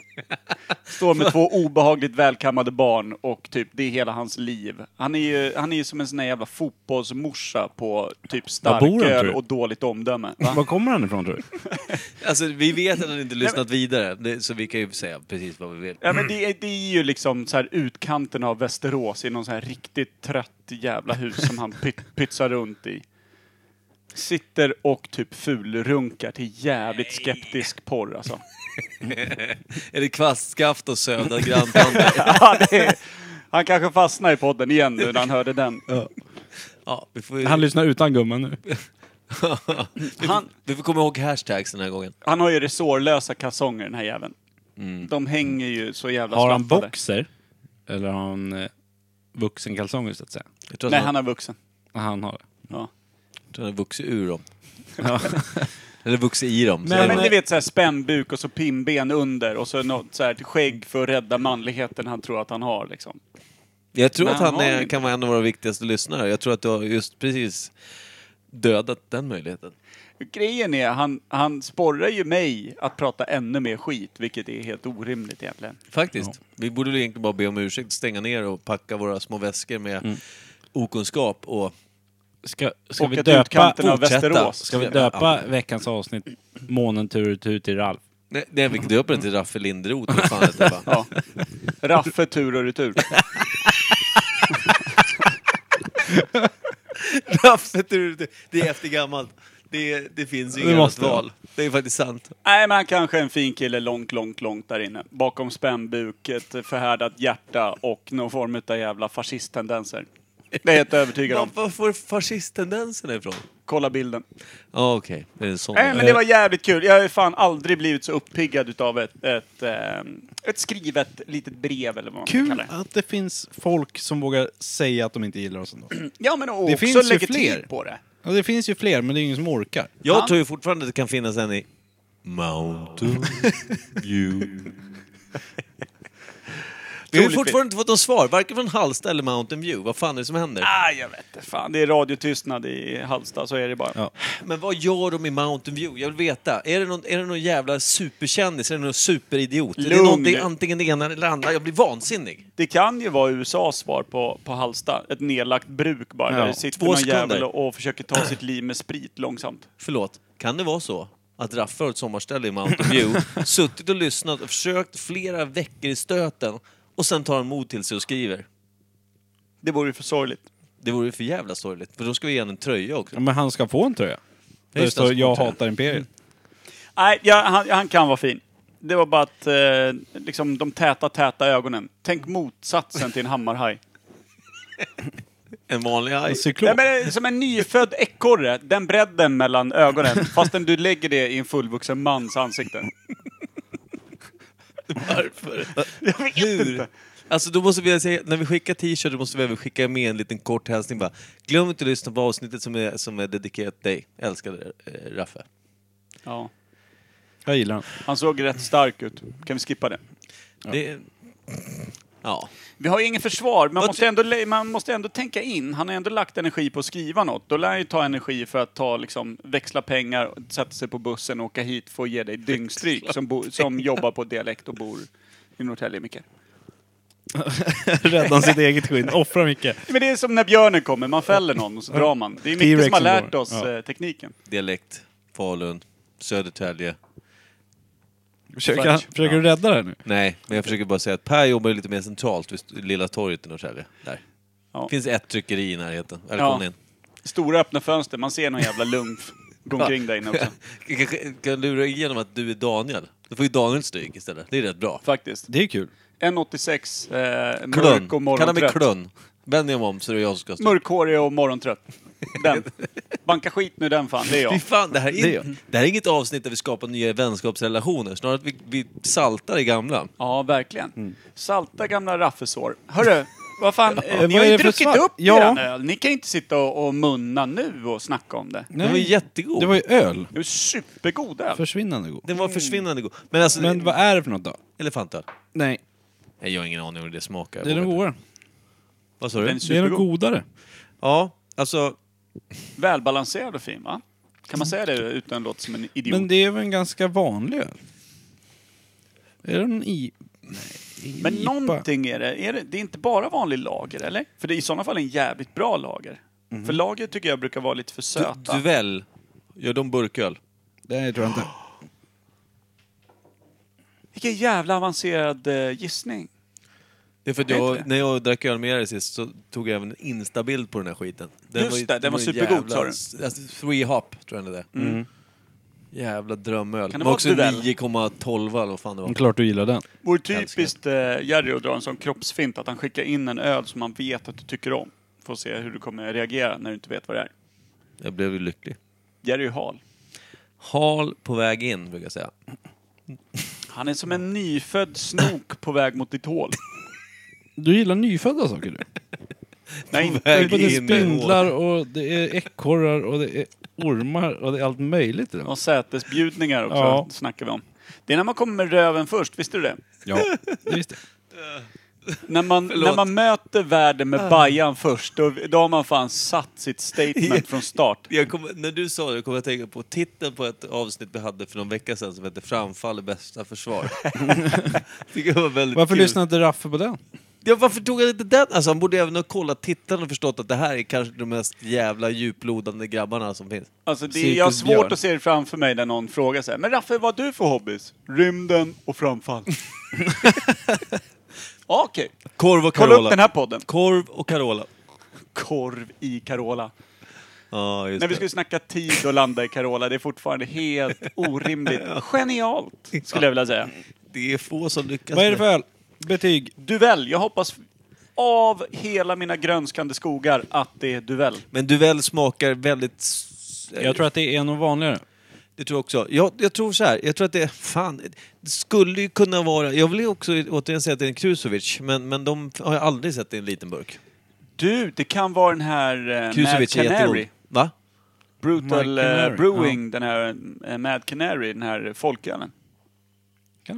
Speaker 4: Står med två obehagligt välkammade barn och typ, det är hela hans liv. Han är ju, han är ju som en sån här jävla fotbollsmorsa på typ
Speaker 5: Var bor han, tror
Speaker 4: starköl
Speaker 5: du?
Speaker 4: och dåligt omdöme. Va?
Speaker 5: Var kommer han ifrån tror du?
Speaker 1: Alltså, vi vet att han inte lyssnat vidare, det, så vi kan ju säga precis vad vi vill.
Speaker 4: Ja, men det, är- det är ju liksom så här utkanten av Västerås i någon så här riktigt trött jävla hus som han pyt, pytsar runt i. Sitter och typ fulrunkar till jävligt skeptisk porr alltså.
Speaker 1: Är det kvastskaft och sövda granntanter?
Speaker 4: Ja, det är, han kanske fastnar i podden igen nu när han hörde den.
Speaker 1: Ja, vi får,
Speaker 5: Han lyssnar utan gumman nu.
Speaker 4: Han,
Speaker 1: vi får komma ihåg hashtags den här gången. Mm.
Speaker 4: han har ju resårlösa kalsonger den här jäveln. De hänger ju så jävla
Speaker 5: Har han
Speaker 4: slappade.
Speaker 5: boxer? Eller har han eh, vuxenkalsonger så att säga?
Speaker 1: Jag tror att
Speaker 4: Nej,
Speaker 1: han,
Speaker 4: han är vuxen.
Speaker 5: Han har det.
Speaker 4: Ja.
Speaker 1: jag tror han har vuxit ur dem. Eller vuxit i dem. så
Speaker 5: Men-
Speaker 4: Ja,
Speaker 1: är det
Speaker 4: men
Speaker 1: bara-
Speaker 4: ni vet såhär spännbuk och så pinnben under och så något så här skägg för att rädda manligheten han tror att han har liksom.
Speaker 1: Jag tror
Speaker 4: Men
Speaker 1: att han
Speaker 4: han har
Speaker 1: är,
Speaker 4: ju-
Speaker 1: kan vara en av våra viktigaste lyssnare. Jag tror att du har just precis dödat den möjligheten.
Speaker 4: Grejen är, han, han sporrar ju mig att prata ännu mer skit, vilket är helt orimligt egentligen.
Speaker 1: Faktiskt. Vi borde väl egentligen bara be om ursäkt, stänga ner och packa våra små väskor med
Speaker 4: Mm.
Speaker 1: okunskap och...
Speaker 5: Ska, ska
Speaker 4: och
Speaker 5: vi
Speaker 4: att
Speaker 5: döpa,
Speaker 4: utkanten av
Speaker 1: fortsätta.
Speaker 4: Västerås.
Speaker 5: ska vi döpa veckans avsnitt Månen tur och tur till Ralf?
Speaker 1: Nej, nej vi döper den till Raffe Lindroth. vad fan heter det, va?
Speaker 4: Ja. Raffe tur och retur.
Speaker 1: Raffe tur och retur. Det är efter gammalt. Det, det finns ju inget annat
Speaker 5: måste det.
Speaker 1: val. Det är faktiskt sant.
Speaker 4: Nej, men han kanske är en fin kille långt, långt, långt där inne. Bakom spännbuk, ett förhärdat hjärta och någon form utav jävla fascisttendenser. Det är jag helt övertygad
Speaker 1: Var,
Speaker 4: om.
Speaker 1: var får fascisttendenserna ifrån?
Speaker 4: Kolla bilden.
Speaker 1: Ja, okej. Det är en sån. Eh,
Speaker 4: Nej, men det var jävligt kul. Jag har ju fan aldrig blivit så uppiggad utav ett, ett, ehm, ett skrivet litet brev eller vad man
Speaker 5: Kul
Speaker 4: kallar det.
Speaker 5: att det finns folk som vågar säga att de inte gillar oss ändå.
Speaker 4: Ja, men och
Speaker 5: Det
Speaker 4: också
Speaker 5: finns ju
Speaker 4: lägger
Speaker 5: fler.
Speaker 4: tid på det.
Speaker 5: Ja, det finns ju fler, men det är ingen som orkar.
Speaker 1: Jag tror ju fortfarande att det kan finnas en i Mountain View. Vi har ju
Speaker 4: Troligtvis.
Speaker 1: fortfarande inte fått något svar, varken från Halsta eller Mountain View. Vad fan är det som händer?
Speaker 4: Ah, jag vet inte. Fan, det är radiotystnad i Halmstad, så är det bara.
Speaker 5: Ja.
Speaker 1: Men vad gör de i Mountain View? Jag vill veta. Är det någon, är det någon jävla superkändis? Är det någon superidiot? Är det
Speaker 4: Lugn.
Speaker 1: någonting, antingen det ena eller det andra? Jag blir vansinnig.
Speaker 4: Det kan ju vara USAs svar på, på Halsta. Ett nedlagt bruk bara, där det sitter
Speaker 1: Två
Speaker 4: någon
Speaker 1: sekunder.
Speaker 4: jävel och, och försöker ta sitt liv med sprit långsamt.
Speaker 1: Förlåt, kan det vara så? Att Raffe har ett sommarställe i Mountain View, suttit och lyssnat och försökt flera veckor i stöten och sen tar han mod till sig och skriver.
Speaker 4: Det vore ju för sorgligt.
Speaker 1: Det vore ju för jävla sorgligt, för då ska vi ge honom en tröja också.
Speaker 5: Ja, men han ska få en tröja. Där det
Speaker 1: Just det,
Speaker 5: står
Speaker 1: han ska
Speaker 5: jag
Speaker 1: få en tröja."
Speaker 5: hatar Imperiet.
Speaker 4: Nej, ja, han, han kan vara fin. Det var bara att eh, liksom, de täta, täta ögonen. Tänk motsatsen till en hammarhaj.
Speaker 1: En vanlig haj.
Speaker 5: En cyklop.
Speaker 4: Nej, men, det är som en nyfödd ekorre, den bredden mellan ögonen. Fastän du lägger det i en fullvuxen mans ansikte.
Speaker 1: Varför? Hur? Alltså då måste vi säga, när vi skickar t-shirts måste vi även skicka med en liten kort hälsning bara. Glöm inte att lyssna på avsnittet som är, som är dedikerat dig, älskade eh, Raffe.
Speaker 4: Ja.
Speaker 5: Jag gillar den.
Speaker 4: Han såg rätt stark ut. Kan vi skippa det?
Speaker 1: Ja. Det, ja.
Speaker 4: Vi har ju ingen försvar. Man
Speaker 1: Vad
Speaker 4: måste, ändå, lä- man måste ändå tänka in. Han har ändå lagt energi på att skriva något. Då lär han ju ta energi för att ta, liksom, växla pengar, sätta sig på bussen och åka hit för att ge dig dyngstryk som, bo, som jobbar på dialekt och bor i Norrtälje, Micke.
Speaker 5: Rädda sitt eget skinn. Offra mycket.
Speaker 4: Men det är som när björnen kommer. Man fäller någon och så drar man. Det är Micke som har
Speaker 5: T-Rexen
Speaker 4: lärt
Speaker 5: går.
Speaker 4: oss
Speaker 5: Ja.
Speaker 4: eh, tekniken.
Speaker 1: Dialekt, Falun, Södertälje.
Speaker 5: Försöker, han, försöker du rädda det här nu?
Speaker 1: Nej, men jag försöker bara säga att Per jobbar ju lite mer centralt vid st- Lilla torget i Norrtälje. Där.
Speaker 4: Ja.
Speaker 1: Finns ett tryckeri i närheten.
Speaker 4: Ja.
Speaker 1: Välkommen in.
Speaker 4: Stora öppna fönster. Man ser någon jävla lump gå omkring där inne också.
Speaker 1: Kanske kan lura igenom att du är Daniel. Då får ju Daniel stryk istället. Det är rätt bra.
Speaker 4: Faktiskt.
Speaker 5: Det är kul.
Speaker 4: 1,86. Eh, mörk
Speaker 1: Klunn.
Speaker 4: och
Speaker 1: Kalla mig
Speaker 4: morgontrött.
Speaker 1: Klunn. Vänd dig om så det är jag som ska stå.
Speaker 4: Mörkhårig och morgontrött. Den. Banka skit nu den fan, det är
Speaker 1: Fy
Speaker 4: jag.
Speaker 1: fan, det här,
Speaker 5: Det är
Speaker 1: är,
Speaker 5: jag.
Speaker 1: det här är inget avsnitt där vi skapar nya vänskapsrelationer. Snarare att vi, vi saltar i gamla.
Speaker 4: Ja, verkligen.
Speaker 5: Mm.
Speaker 4: Salta gamla raffesår. Hörru, vad fan, eh,
Speaker 5: vad
Speaker 4: ni har
Speaker 5: är
Speaker 4: ju
Speaker 5: det för
Speaker 4: druckit
Speaker 5: svar?
Speaker 4: upp
Speaker 5: Ja.
Speaker 4: eran öl. Ni kan ju inte sitta och, och munna nu och snacka om det.
Speaker 1: Den var ju jättegod.
Speaker 5: Det var ju öl.
Speaker 4: Det är supergod öl.
Speaker 5: Försvinnande god.
Speaker 1: Den var försvinnande god. Men alltså,
Speaker 5: Men vad är det för något då?
Speaker 1: elefantöl?
Speaker 5: Nej.
Speaker 1: Nej, jag har ingen aning om hur det smakar.
Speaker 5: Det är den goda.
Speaker 1: Vad sa
Speaker 4: Den
Speaker 1: du?
Speaker 4: är
Speaker 5: Det är den
Speaker 4: supergod.
Speaker 5: godare.
Speaker 1: Ja, alltså...
Speaker 4: Välbalanserad och fin, va? Kan man säga det utan att låta som en idiot?
Speaker 5: Men det är väl en ganska vanlig öl? Är den i... Nej, ingen
Speaker 4: Men
Speaker 5: IPA.
Speaker 4: någonting är det. är det. Det är inte bara vanlig lager, eller? För det är i sådana fall en jävligt bra lager.
Speaker 5: Mhm.
Speaker 4: För lager tycker jag brukar vara lite för
Speaker 1: Du,
Speaker 4: söta.
Speaker 1: duell. Gör de burköl?
Speaker 5: Nej, tror jag inte.
Speaker 4: Vilken jävla avancerad eh, gissning.
Speaker 1: Det är för att
Speaker 4: Jag
Speaker 1: jag,
Speaker 4: vet det.
Speaker 1: när jag drack öl med er sist så tog jag även en instabild på den här skiten.
Speaker 4: Just
Speaker 1: ju-
Speaker 4: det, den var
Speaker 1: ju
Speaker 4: supergod, sa du.
Speaker 1: jävla- Alltså, three hop, tror jag det är. Mm. Jävla drömöl.
Speaker 4: Kan
Speaker 1: Kan det
Speaker 4: det vara
Speaker 1: var också
Speaker 4: duell?
Speaker 1: 9,12 eller vad fan det var.
Speaker 5: Klart du gillar den.
Speaker 4: Vore
Speaker 1: Älskar.
Speaker 4: typiskt eh, Jerry att dra en sån kroppsfint att han skickar in en öl som han vet att du tycker om. Får se hur du kommer reagera när du inte vet vad det är.
Speaker 1: Jag blev ju lycklig.
Speaker 4: Jerry är hal.
Speaker 1: Hal på väg in, brukar jag säga.
Speaker 4: Han är som en nyfödd snok på väg mot ditt hål.
Speaker 5: Du gillar nyfödda saker du.
Speaker 4: Nej,
Speaker 5: Det
Speaker 1: väg
Speaker 4: inte
Speaker 5: är både
Speaker 1: in i
Speaker 5: spindlar och det är ekorrar och det är ormar och det är allt möjligt i den.
Speaker 4: och sätesbjudningar också,
Speaker 5: Ja.
Speaker 4: snackar vi om. Det är när man kommer med röven först, visste du det?
Speaker 5: Ja, det visste jag.
Speaker 4: När man, när man möter världen med bajan först, då, då har man fan satt sitt statement från start.
Speaker 1: Jag kom, när du sa det kom jag att tänka på titeln på ett avsnitt vi hade för någon vecka sedan som hette Framfall är bästa försvar. Tycker jag var väldigt
Speaker 5: Varför
Speaker 1: kul.
Speaker 5: lyssnade inte Raffe på den?
Speaker 1: Ja, varför tog han inte den? Alltså, han borde även ha kollat tittaren och förstått att det här är kanske de mest jävla djuplodande grabbarna som finns.
Speaker 4: Alltså, det, jag har svårt
Speaker 5: Cirkusbjörn.
Speaker 4: att se det framför mig när någon frågar så här, men Raffe, vad har du för hobbys? Rymden och framfall. Ja, Okej.
Speaker 1: Korv och
Speaker 4: Kolla upp
Speaker 1: Carola.
Speaker 4: den här podden.
Speaker 1: Korv och Carola.
Speaker 4: Korv i Carola.
Speaker 1: Ja, just
Speaker 4: När vi
Speaker 1: det.
Speaker 4: skulle snacka tid och landa i Carola, det är fortfarande helt orimligt. Genialt, skulle jag vilja säga.
Speaker 1: Det är få som lyckas
Speaker 5: Vad är det för
Speaker 1: med
Speaker 5: öl? Betyg?
Speaker 4: Duell. Jag hoppas av hela mina grönskande skogar att det är duell.
Speaker 1: Men Duell smakar väldigt... s-
Speaker 5: Jag tror att det är nog vanligare.
Speaker 1: Det tror jag också. Jag, jag tror så här, jag tror att det, fan, det skulle ju kunna vara... Jag vill ju också återigen säga att det är en Krusovic, men, men de har jag aldrig sett i en liten burk.
Speaker 4: Du, det kan vara den här eh, Mad
Speaker 1: Krusovic är jättegod.
Speaker 4: Canary.
Speaker 1: Va?
Speaker 4: Brutal
Speaker 5: Mad Canary,
Speaker 4: eh, Brewing, den här eh, Mad Canary, den här folkölen.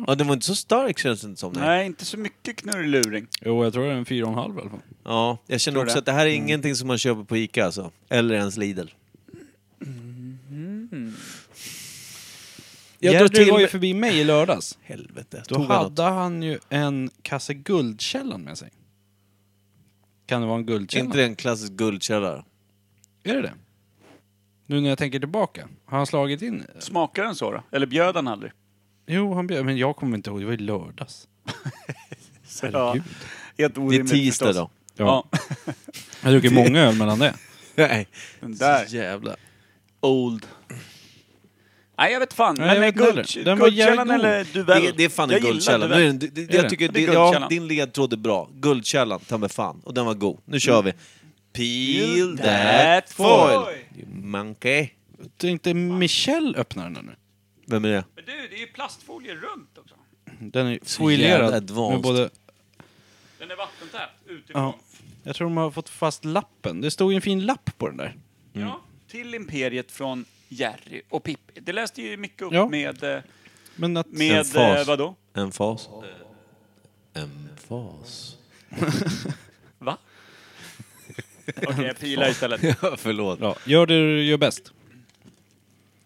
Speaker 1: Ja, den var inte så stark känns det inte som.
Speaker 4: Nej. inte så mycket knurrluring.
Speaker 5: Jo, jag tror det är en 4,5 i alla fall.
Speaker 1: Ja, jag känner
Speaker 4: Tror
Speaker 1: också
Speaker 4: det. Mm.
Speaker 1: att det här är ingenting som man köper på Ica alltså. Eller ens Lidl.
Speaker 5: Jag
Speaker 1: Jerry
Speaker 5: tror du var ju
Speaker 1: med-
Speaker 5: förbi mig i lördags.
Speaker 1: Helvete.
Speaker 5: Då
Speaker 1: tog han något?
Speaker 5: hade han ju en kasse Guldkällan med sig. Kan det vara en
Speaker 1: Är
Speaker 5: Guldkällan?
Speaker 1: inte det en klassisk guldkälla?
Speaker 5: Är det det? Nu när jag tänker tillbaka. Har han slagit in?
Speaker 4: Smakar den så då? Eller bjöd han aldrig?
Speaker 5: Jo, han bjöd. Men jag kommer inte ihåg. Det var i lördags.
Speaker 4: Ja,
Speaker 5: Herregud.
Speaker 4: helt
Speaker 1: Det
Speaker 4: orimligt
Speaker 1: är tisdag
Speaker 4: förstås.
Speaker 1: då.
Speaker 4: Ja.
Speaker 5: Jag har druckit många öl mellan det.
Speaker 1: Nej.
Speaker 4: Den där.
Speaker 1: Så jävla...
Speaker 4: Old. Nej, jag vet fan.
Speaker 5: Nej,
Speaker 4: men
Speaker 5: jag vet
Speaker 4: guld,
Speaker 5: inte heller. Den var
Speaker 4: guldkällan
Speaker 5: jävligt god.
Speaker 4: eller duell?
Speaker 1: Det, det är fan en
Speaker 4: Jag gillar
Speaker 1: guldkälla. Nu
Speaker 4: duell.
Speaker 1: är det, det, det,
Speaker 5: det?
Speaker 1: jag tycker
Speaker 4: Ja, det är
Speaker 1: det, ja,
Speaker 4: guldkällan.
Speaker 1: din ledtråd är bra. Guldkällan, ta mig fan. Och den var god. Nu kör vi. Peel that
Speaker 4: that
Speaker 1: foil,
Speaker 4: foil.
Speaker 1: you monkey.
Speaker 5: Tänkte Michel öppna den där nu.
Speaker 1: Vem är det?
Speaker 4: Men du, det är ju plastfolie runt också.
Speaker 5: Den är
Speaker 1: jävla
Speaker 5: foilerad med
Speaker 1: advanced.
Speaker 5: både
Speaker 4: Den är vattentät utifrån.
Speaker 5: Ja. Jag tror de har fått fast lappen. Det stod ju en fin lapp på den där.
Speaker 4: Ja,
Speaker 5: Mm.
Speaker 4: till Imperiet från Jerry och Pippi. Det läste ju mycket upp
Speaker 5: Ja.
Speaker 4: med... eh,
Speaker 5: Men att...
Speaker 1: En
Speaker 4: Med
Speaker 1: fas.
Speaker 4: eh, vadå?
Speaker 1: En fas. En fas.
Speaker 4: Va? Okej, jag pilar istället.
Speaker 1: Ja, Förlåt.
Speaker 5: Ja, gör det du gör bäst.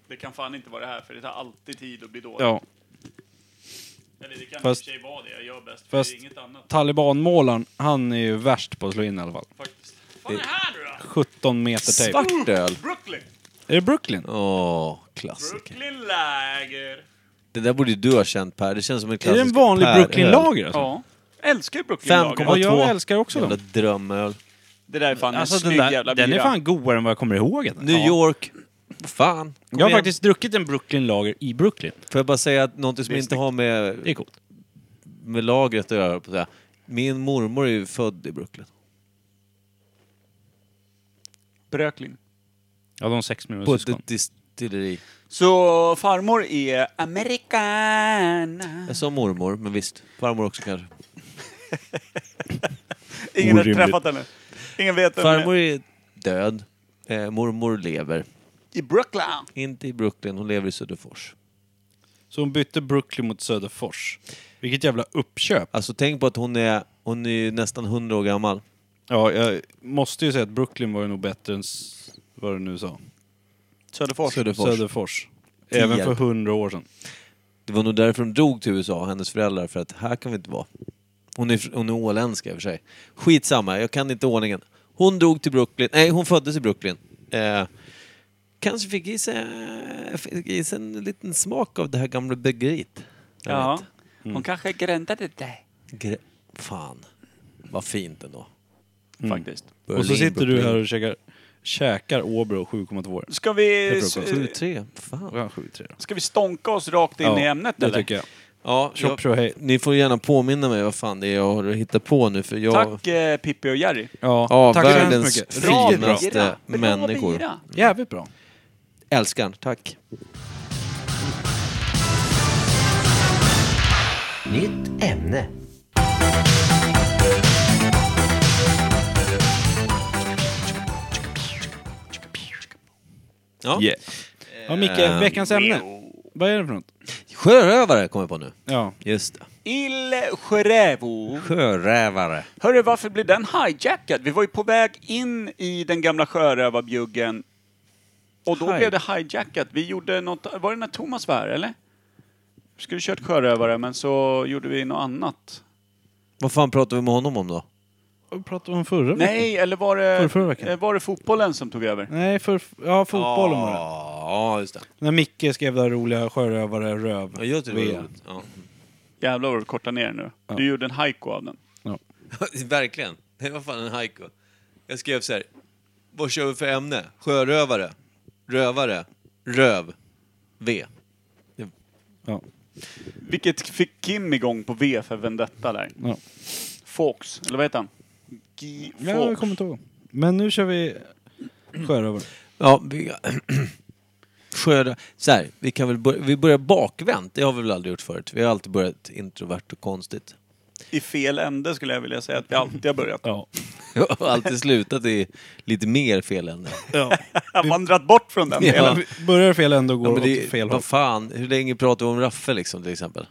Speaker 4: Det kan fan inte vara det här, för det tar alltid tid att bli dåligt.
Speaker 5: Ja.
Speaker 4: Eller det kan
Speaker 5: Fast-
Speaker 4: i och för sig vara det jag gör bäst, för
Speaker 5: fast-
Speaker 4: det är inget annat
Speaker 5: Talibanmålaren, han är ju värst på att slå in i alla fall.
Speaker 4: faktiskt. Vad är det här nu då?
Speaker 5: 17 meter tejp.
Speaker 1: Svart öl.
Speaker 4: Brooklyn!
Speaker 5: Är det Brooklyn?
Speaker 1: Åh, klassiker.
Speaker 4: Brooklyn läger!
Speaker 1: Det där borde ju du ha känt Per. Det känns som en
Speaker 5: Är det
Speaker 1: klassisk
Speaker 5: en vanlig
Speaker 1: Per-öl.
Speaker 5: Brooklyn-lager alltså?
Speaker 4: Ja. Älskar ju Brooklyn
Speaker 5: Ja,
Speaker 1: 5,2.
Speaker 4: lager.
Speaker 5: jag älskar också
Speaker 1: Jävla
Speaker 5: dem.
Speaker 1: drömöl.
Speaker 4: Det där är fan en
Speaker 5: Alltså den,
Speaker 4: snygg
Speaker 5: där,
Speaker 4: jävla
Speaker 5: den är
Speaker 4: bira.
Speaker 5: fan godare än vad jag kommer ihåg. att den-
Speaker 1: New
Speaker 5: Ja.
Speaker 1: York. Fan. Kom
Speaker 5: Jag har
Speaker 1: igen.
Speaker 5: faktiskt druckit en Brooklyn-lager i Brooklyn.
Speaker 1: Får jag bara säga att någonting som
Speaker 4: Det är
Speaker 1: inte har med,
Speaker 5: Det är coolt.
Speaker 1: med lagret att göra. på det här. Min mormor är ju född i Brooklyn.
Speaker 4: Brooklyn.
Speaker 5: Ja, de sex med
Speaker 1: På ett distilleri.
Speaker 4: Så farmor är amerikan.
Speaker 1: Jag sa mormor, men visst. Farmor också kanske.
Speaker 4: Ingen har
Speaker 5: Orimligt.
Speaker 4: träffat henne. Ingen vet vem hon
Speaker 1: Farmor
Speaker 4: är.
Speaker 1: är död. Eh, mormor lever.
Speaker 4: I Brooklyn.
Speaker 1: Inte i Brooklyn, hon lever i Söderfors.
Speaker 5: Så hon bytte Brooklyn mot Söderfors. Vilket jävla uppköp.
Speaker 1: Alltså tänk på att hon är, hon är ju nästan 100 år gammal.
Speaker 5: Ja, jag måste ju säga att Brooklyn var ju nog bättre än s- vad du nu sa.
Speaker 4: Söderfors.
Speaker 1: Söderfors.
Speaker 5: Söderfors. Även
Speaker 1: Tierp.
Speaker 5: för hundra år sedan.
Speaker 1: Det var nog därför de drog till USA, hennes föräldrar, för att här kan vi inte vara. Hon är, hon är åländska i och för sig. Skitsamma, jag kan inte ordningen. Hon drog till Brooklyn, nej hon föddes i Brooklyn. Eh, kanske fick i sig, fick i sig en liten smak av det här gamla bryggeriet. Jag
Speaker 4: Ja.
Speaker 1: vet.
Speaker 5: Mm.
Speaker 4: Hon kanske grundade det.
Speaker 1: Gre- Fan, vad fint ändå.
Speaker 5: Mm.
Speaker 4: Faktiskt.
Speaker 5: Och så
Speaker 1: Berlin,
Speaker 5: sitter du
Speaker 1: Brooklyn.
Speaker 5: här och käkar, käkar Åbro 7,2
Speaker 4: Ska vi,
Speaker 5: Det är
Speaker 1: 7-3, fan.
Speaker 5: Ja, 7,3 då.
Speaker 4: ska vi stonka oss rakt in
Speaker 5: Ja,
Speaker 4: i ämnet
Speaker 5: det
Speaker 4: eller?
Speaker 5: tycker jag.
Speaker 1: Ja,
Speaker 5: Tjopp
Speaker 1: jag,
Speaker 5: tjo hej.
Speaker 1: ni får gärna påminna mig vad fan det är jag har att hitta på nu för jag...
Speaker 4: Tack eh, Pippi och Jerry.
Speaker 5: Ja,
Speaker 1: Ja,
Speaker 5: tack så hemskt
Speaker 1: världens
Speaker 5: mycket.
Speaker 4: Bra
Speaker 5: Riktigt bra.
Speaker 1: finaste
Speaker 4: bira. Bra
Speaker 1: människor.
Speaker 4: bira.
Speaker 5: Jävligt bra.
Speaker 1: Älskar, tack.
Speaker 7: Nytt ämne.
Speaker 1: Ja.
Speaker 5: Ja,
Speaker 1: Ehm,
Speaker 5: Micke, veckans ämne. Vad är det för något?
Speaker 1: Sjörövare kommer jag på nu.
Speaker 5: Ja.
Speaker 1: Just det.
Speaker 4: Il Sjörävo.
Speaker 1: Sjörövare.
Speaker 4: Hörru, varför blev den hijackad? Vi var ju på väg in i den gamla sjörövarbjuggen. Och då
Speaker 1: Hi-
Speaker 4: blev det hijackat. Vi gjorde något, var det när Thomas var här eller? Vi skulle kört sjörövare men så gjorde vi något annat.
Speaker 1: Vad fan pratar vi med honom om då?
Speaker 5: Vad pratade vi om förra veckan?
Speaker 4: Nej, eller var det,
Speaker 5: Förra, förra veckan.
Speaker 4: eh, var det fotbollen som tog över?
Speaker 5: Nej, för, ja, fotbollen var det.
Speaker 1: Ja, just det.
Speaker 5: När Micke skrev det här roliga sjörövare röv
Speaker 1: Ja, jag tyckte det var roligt. Ja.
Speaker 4: Jävlar vad du kortar ner nu.
Speaker 5: Ja.
Speaker 4: Du gjorde en haiku av den.
Speaker 1: Verkligen. Det var fan en haiku. Jag skrev så här. Vad kör vi för ämne? Sjörövare. Rövare. Röv. V.
Speaker 5: Ja.
Speaker 4: Vilket fick Kim igång på V för Vendetta där.
Speaker 5: Ja.
Speaker 4: Fox, eller vad heter han? Guy Fawkes.
Speaker 5: Ja, jag kommer inte ihåg. Men nu kör vi sjörövare.
Speaker 1: Ja, vi... Sjörö... Så här, vi kan väl börja... Vi börjar bakvänt. Det har vi väl aldrig gjort förut. Vi har alltid börjat introvert och konstigt.
Speaker 4: I fel ände skulle jag vilja säga att vi alltid har börjat.
Speaker 5: Ja.
Speaker 1: Jag har alltid slutat i lite mer fel ände.
Speaker 5: ja.
Speaker 4: Jag har vandrat bort från den
Speaker 1: Ja.
Speaker 4: delen.
Speaker 5: Börjar fel ändå och
Speaker 1: Ja,
Speaker 5: går
Speaker 1: men det,
Speaker 5: åt fel håll.
Speaker 1: vad fan, hur länge pratar vi om Raffe liksom till exempel?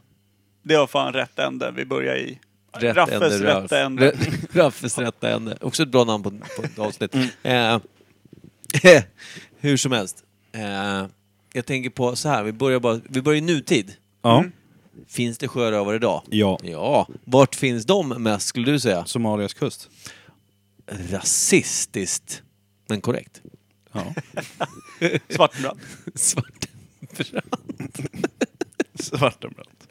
Speaker 4: Det var fan rätt ände vi börjar i. Raffes
Speaker 1: Ralf.
Speaker 4: rätta ände.
Speaker 1: Ra- Raffes rätta ände. Också ett bra namn på, på ett avsnitt. Mm. Eh, hur som helst. Eh, jag tänker på så här, vi börjar, bara, vi börjar i nutid.
Speaker 5: Ja.
Speaker 1: Finns det sjörövare idag?
Speaker 5: Ja.
Speaker 1: Ja. Vart finns de mest skulle du säga?
Speaker 5: Somalias kust.
Speaker 1: Rasistiskt, men korrekt.
Speaker 5: Ja.
Speaker 4: Svartbrand.
Speaker 1: Svart.
Speaker 5: Svartenbrandt.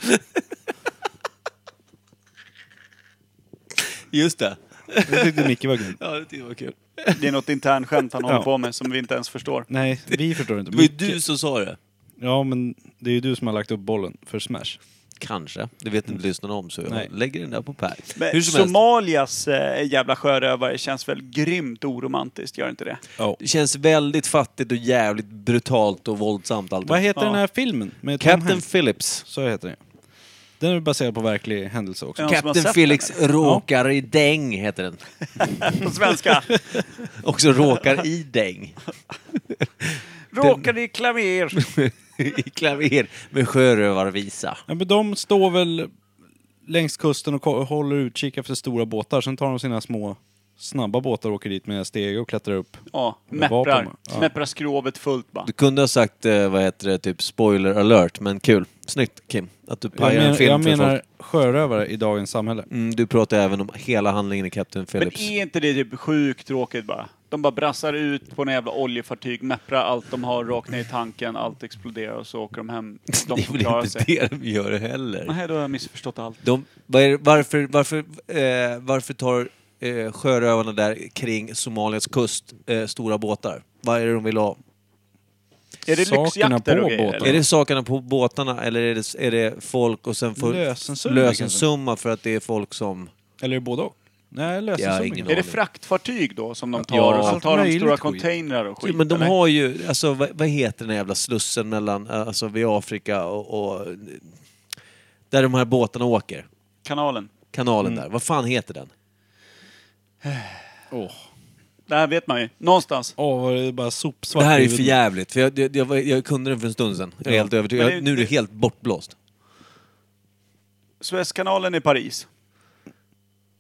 Speaker 1: Just det.
Speaker 5: Det tyckte Micke var kul.
Speaker 1: Ja, det tyckte jag var kul.
Speaker 4: Det är något internskämt han håller
Speaker 5: Ja.
Speaker 4: på med som vi inte ens förstår.
Speaker 5: Nej, vi förstår inte.
Speaker 1: Det var ju
Speaker 5: Micke-
Speaker 1: du som sa det.
Speaker 5: Ja, men det är ju du som har lagt upp bollen för Smash.
Speaker 1: Kanske. Det vet inte lyssnarna om, så jag
Speaker 5: Nej.
Speaker 1: lägger den där på Per.
Speaker 4: Men
Speaker 1: Hur som helst,
Speaker 4: Somalias eh, jävla sjörövare känns väl grymt oromantiskt, gör inte det?
Speaker 5: Ja.
Speaker 1: det känns väldigt fattigt och jävligt brutalt och våldsamt allt.
Speaker 5: Vad heter
Speaker 4: Ja.
Speaker 5: den här filmen? Med Tom
Speaker 1: Captain
Speaker 5: Hanks?
Speaker 1: Phillips.
Speaker 5: Så heter den Den är baserad på verklig händelse också.
Speaker 4: Ja. som har sett
Speaker 1: Captain
Speaker 4: den,
Speaker 1: Felix råkar i däng, heter den.
Speaker 4: På svenska.
Speaker 1: Också råkar i däng.
Speaker 4: Råkade i klaver.
Speaker 1: I klaver med sjörövarvisa.
Speaker 5: Ja, men de står väl längs kusten och ko- håller utkik efter stora båtar. Sen tar de sina små snabba båtar och åker dit med stege och klättrar upp.
Speaker 4: Ja,
Speaker 5: Med vapen,
Speaker 4: mepprar.
Speaker 5: ja.
Speaker 4: Mepprar skrovet fullt bara.
Speaker 1: Du kunde ha sagt, eh, vad heter det, typ spoiler alert, men kul. Snyggt Kim, att du
Speaker 5: Jag,
Speaker 1: pajar en
Speaker 5: men,
Speaker 1: film
Speaker 5: jag
Speaker 1: för folk.
Speaker 5: menar sjörövare i dagens samhälle.
Speaker 1: Mm, du pratar även om hela handlingen i Captain
Speaker 4: Men
Speaker 1: Phillips.
Speaker 4: är inte det typ sjukt tråkigt bara? De bara brassar ut på en jävla oljefartyg, mepprar allt de har rakt ner i tanken, allt exploderar och så åker de hem.
Speaker 1: det
Speaker 4: De
Speaker 1: är
Speaker 4: får
Speaker 1: väl
Speaker 4: klara
Speaker 1: inte
Speaker 4: sig.
Speaker 1: det de gör heller.
Speaker 4: Nej, då har jag missförstått allt.
Speaker 1: De, vad är, varför, varför, eh, varför tar eh, sjörövarna där kring Somalias kust eh, stora båtar? Vad är det de vill ha?
Speaker 4: Är det
Speaker 5: Sakerna
Speaker 4: lyxjakter
Speaker 5: på
Speaker 4: och grejer?
Speaker 5: båten.
Speaker 4: eller?
Speaker 1: Är det sakerna på båtarna eller är det, är det folk och sen får
Speaker 5: Lösensumma,
Speaker 1: lösensumma för att det är folk som...
Speaker 5: Eller är det både och? Nej,
Speaker 1: Jag har
Speaker 5: lösensumma.
Speaker 1: ingen
Speaker 4: Är
Speaker 5: Ja,
Speaker 4: det fraktfartyg då som de tar?
Speaker 5: Ja,
Speaker 4: och så
Speaker 5: allt
Speaker 4: tar de
Speaker 5: möjligt
Speaker 4: stora
Speaker 5: skit.
Speaker 4: containrar och skit?
Speaker 1: men de
Speaker 4: eller?
Speaker 1: har ju, alltså vad, vad heter den här jävla slussen mellan, eh, alltså vid Afrika och, och... Där de här båtarna åker.
Speaker 4: Kanalen.
Speaker 1: Kanalen
Speaker 4: Mm.
Speaker 1: där. Vad fan heter den?
Speaker 5: Åh,
Speaker 4: Det här vet man ju. Någonstans.
Speaker 5: Åh, vad det är bara sopsvart.
Speaker 1: Det här är
Speaker 5: i
Speaker 1: ju
Speaker 5: huvudet.
Speaker 1: för jävligt. För jag, jag, jag, var- jag kunde den för en stund sedan. Jag är
Speaker 5: Ja.
Speaker 1: helt övertygad.
Speaker 4: Men det-
Speaker 1: nu är du
Speaker 4: det-
Speaker 1: helt bortblåst.
Speaker 4: Suezkanalen i Paris.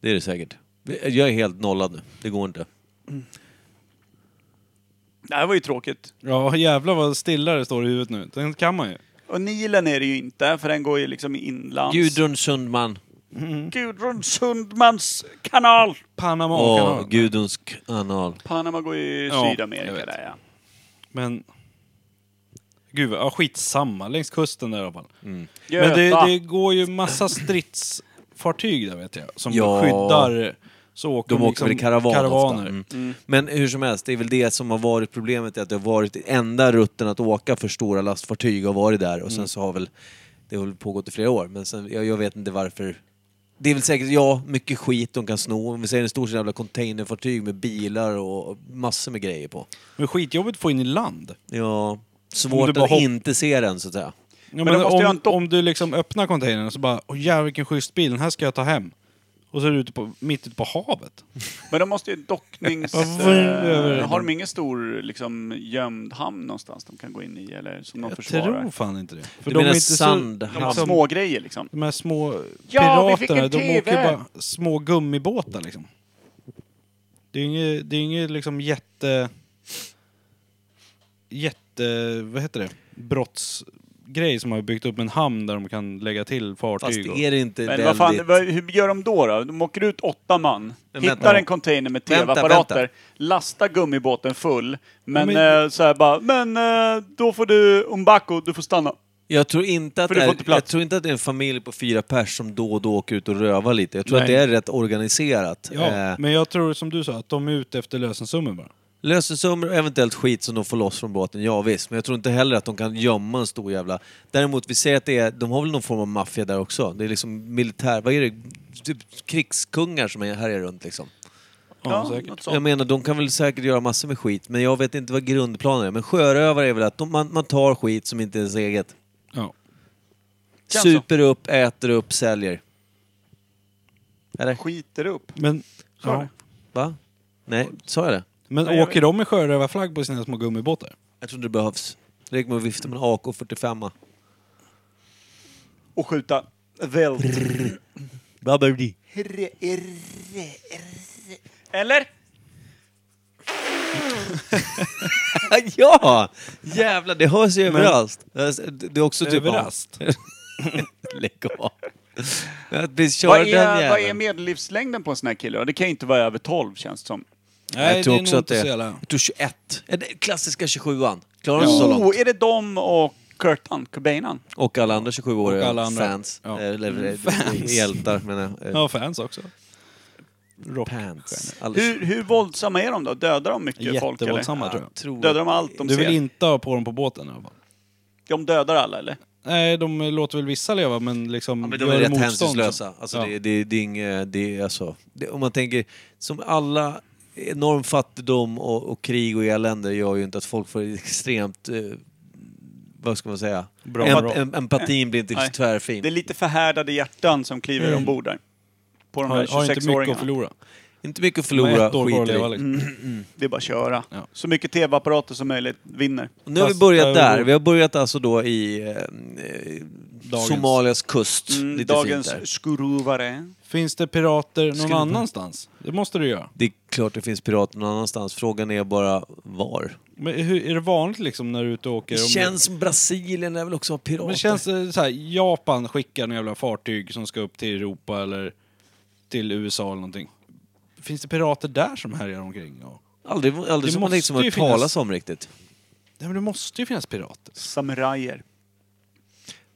Speaker 1: Det är det säkert. Jag är helt nollad nu. Det går inte.
Speaker 4: Det här var ju tråkigt.
Speaker 5: Ja, jävlar vad stilla det står i huvudet nu. Den kan man ju.
Speaker 4: Och Nilen är det ju inte, för den går ju liksom inlands.
Speaker 1: Gudrun Sundman.
Speaker 4: Gudrun Sundmans kanal!
Speaker 5: Panama
Speaker 1: Åh,
Speaker 5: kanal.
Speaker 1: Gudruns kanal.
Speaker 4: Panama går ju i
Speaker 5: Ja, jag
Speaker 4: Sydamerika
Speaker 5: vet.
Speaker 4: där ja.
Speaker 5: Men... Gud, vad- ja, skitsamma. Längs kusten där i alla fall. Men
Speaker 4: Göta.
Speaker 5: det, det går ju massa stridsfartyg där vet jag, som
Speaker 1: Ja.
Speaker 5: skyddar. Så åker
Speaker 1: De åker
Speaker 5: liksom
Speaker 1: väl i karavan
Speaker 5: karavaner.
Speaker 1: ofta. Mm. Men hur som helst, det är väl det som har varit problemet. Att det har varit enda rutten att åka för stora lastfartyg har varit där.
Speaker 5: Mm.
Speaker 1: Och sen så har väl det har väl pågått i flera år. Men sen, jag, jag vet inte varför. Det är väl säkert, ja, mycket skit de kan sno. Om vi säger en stor sån jävla containerfartyg med bilar och massor med grejer på.
Speaker 5: Men skitjobbigt att få in i land.
Speaker 1: Ja,
Speaker 5: Om du
Speaker 1: svårt
Speaker 5: bara
Speaker 1: att
Speaker 5: hopp-
Speaker 1: inte se den så att säga.
Speaker 5: Ja, men
Speaker 4: då måste jag ha
Speaker 5: om,
Speaker 4: en dock-
Speaker 5: om du liksom öppnar containern och så bara åh jävlar vilken schysst bil, den här ska jag ta hem. Och så är du ute på, mitt ute på havet.
Speaker 4: Men de måste ju docknings...
Speaker 5: Varför är det-
Speaker 4: eh, har de ingen stor liksom, gömd hamn någonstans de kan gå in i eller som de
Speaker 5: Jag
Speaker 4: försvarar?
Speaker 5: tror fan inte det. För
Speaker 1: Du menar
Speaker 4: De har
Speaker 1: sandhamn?
Speaker 5: liksom-
Speaker 4: små grejer liksom.
Speaker 5: De här små
Speaker 4: Ja, vi fick
Speaker 5: piraterna,
Speaker 4: en
Speaker 5: de åker ju
Speaker 4: TV.
Speaker 5: bara små gummibåtar liksom. Det är inget, det är inget liksom jätte... Jätte... Vad heter det? Brottsgrej som har byggt upp en hamn där de kan lägga till
Speaker 1: Fast
Speaker 5: fartyg.
Speaker 1: är det inte
Speaker 4: Men
Speaker 1: väldigt...
Speaker 4: vad fan, vad, hur gör de då, då? De åker ut åtta man,
Speaker 1: Men
Speaker 4: hittar
Speaker 1: vänta.
Speaker 4: en container med
Speaker 1: Vänta,
Speaker 4: tv-apparater,
Speaker 1: vänta.
Speaker 4: lastar gummibåten full, men,
Speaker 5: Ja, men-
Speaker 4: eh, så här bara, men eh, då får du, Umbaco, du får stanna.
Speaker 1: Jag tror, inte att
Speaker 4: För
Speaker 1: det
Speaker 4: du får
Speaker 1: är,
Speaker 4: inte plats.
Speaker 1: jag tror inte att det är en familj på fyra pers som då och då åker ut och rövar lite. Jag tror
Speaker 4: Nej.
Speaker 1: att det är rätt organiserat.
Speaker 5: Ja,
Speaker 1: Eh,
Speaker 5: men jag tror som du sa, att de är ute efter lösensummor bara.
Speaker 1: Lösensummer och eventuellt skit som de får loss från båten, ja visst. Men jag tror inte heller att de kan gömma en stor jävla... Däremot, vi säger att det är... De har väl någon form av maffia där också? Det är liksom militär... Vad är det? Typ krigskungar som är- härjar runt liksom.
Speaker 5: Ja, säkert.
Speaker 4: något
Speaker 1: Jag
Speaker 4: sånt.
Speaker 1: menar, de kan väl säkert göra massor med skit, men jag vet inte vad grundplanen är. Men sjörövare är väl att de, man, man tar skit som inte är ens eget.
Speaker 5: Ja.
Speaker 4: Känns så.
Speaker 1: Super upp, äter upp, säljer. Eller?
Speaker 4: Skiter upp.
Speaker 5: Men,
Speaker 4: Sa
Speaker 5: ja.
Speaker 4: du?
Speaker 1: Va? Nej, sa jag det?
Speaker 5: men
Speaker 4: Nej, jag
Speaker 5: åker de med sjörövarflagg på sina små gummibåtar?
Speaker 1: Jag tror inte det behövs. Det räcker med att vifta med en AK45.
Speaker 4: Och skjuta. Väl.
Speaker 1: Bababli.
Speaker 4: Eller?
Speaker 1: ja! Jävlar, det hörs ju överallt. Det är också typ...
Speaker 5: Överallt.
Speaker 1: Lägg av. Att bli körd
Speaker 4: Vad
Speaker 1: den jäveln.
Speaker 4: är, vad är medellivslängden på en sån här kille då? Det kan ju inte vara över 12 känns det som.
Speaker 5: Nej,
Speaker 1: jag tror
Speaker 5: det är
Speaker 1: också
Speaker 5: nog
Speaker 1: att
Speaker 5: inte
Speaker 1: det
Speaker 5: så
Speaker 1: är...
Speaker 5: jävla...
Speaker 1: Jag tror 21. Är det Klassiska 27an. Klarar de sig
Speaker 8: Alltså,
Speaker 1: så långt?
Speaker 4: Oh, är det dem och Kurtan Cobainan?
Speaker 1: Och alla andra 27-åriga
Speaker 5: Och alla andra.
Speaker 1: fans.
Speaker 5: Ja.
Speaker 1: Eller eh, hjältar menar jag. Eh,
Speaker 5: Ja, fans också. Rock.
Speaker 1: Pants. Alla-
Speaker 4: Hur, hur våldsamma är de då? Dödar de mycket folk eller?
Speaker 5: Jättevåldsamma tror jag.
Speaker 1: Tror-
Speaker 4: Dödar de allt de
Speaker 5: du
Speaker 4: ser?
Speaker 5: vill inte ha på dem på båten i alla fall.
Speaker 4: De dödar alla eller?
Speaker 5: Nej, de låter väl vissa leva men liksom...
Speaker 1: Ja, men de
Speaker 5: gör
Speaker 1: är rätt
Speaker 5: motstånd,
Speaker 1: hänsynslösa.
Speaker 5: så-
Speaker 1: Alltså,
Speaker 5: ja.
Speaker 1: det, det, det är inget, det är alltså, det, om man tänker, som alla, enorm fattigdom och, och krig och elände gör ju inte att folk får extremt eh,
Speaker 8: vad ska man säga?
Speaker 5: Bra.
Speaker 8: Emp-
Speaker 5: Bra.
Speaker 8: em- empatin blir inte
Speaker 4: Nej.
Speaker 8: tvärfin.
Speaker 4: Det är lite förhärdade hjärtan som kliver ombord där. På de här
Speaker 5: Mm. Har, har inte mycket att
Speaker 4: 26-åringarna.
Speaker 5: förlora.
Speaker 8: Inte mycket att
Speaker 5: De har
Speaker 8: förlora,
Speaker 5: ett år kvar att
Speaker 8: skit i.
Speaker 5: leva, liksom.
Speaker 4: Mm. Det är bara att köra.
Speaker 5: Ja.
Speaker 4: Så mycket tv-apparater som möjligt vinner. Mm,
Speaker 8: Nu har vi
Speaker 5: Fast eh,
Speaker 8: börjat
Speaker 5: över-
Speaker 8: där. Vi har börjat alltså då i eh, eh,
Speaker 5: Dagens.
Speaker 8: Somalias kust.
Speaker 4: Mm,
Speaker 8: Lite fint där.
Speaker 4: dagens skruvare.
Speaker 5: Finns det pirater någon
Speaker 8: Skulle-
Speaker 5: annanstans? Det måste du göra.
Speaker 8: Det är klart det finns pirater någon annanstans. Frågan är bara var.
Speaker 5: Men hur, är det vanligt liksom när du är ute och åker?
Speaker 8: Det
Speaker 5: om-
Speaker 8: känns som Brasilien lär väl också ha pirater.
Speaker 5: Men känns det så här, Japan skickar några jävla fartyg som ska upp till Europa eller till USA eller någonting. Finns det pirater där som härjar omkring? Ja.
Speaker 8: Aldrig, aldrig
Speaker 5: Det
Speaker 8: som man liksom har
Speaker 5: måste ju
Speaker 8: hört
Speaker 5: finnas-
Speaker 8: talas om riktigt.
Speaker 5: Nej, men det måste ju finnas pirater.
Speaker 4: Samurajer.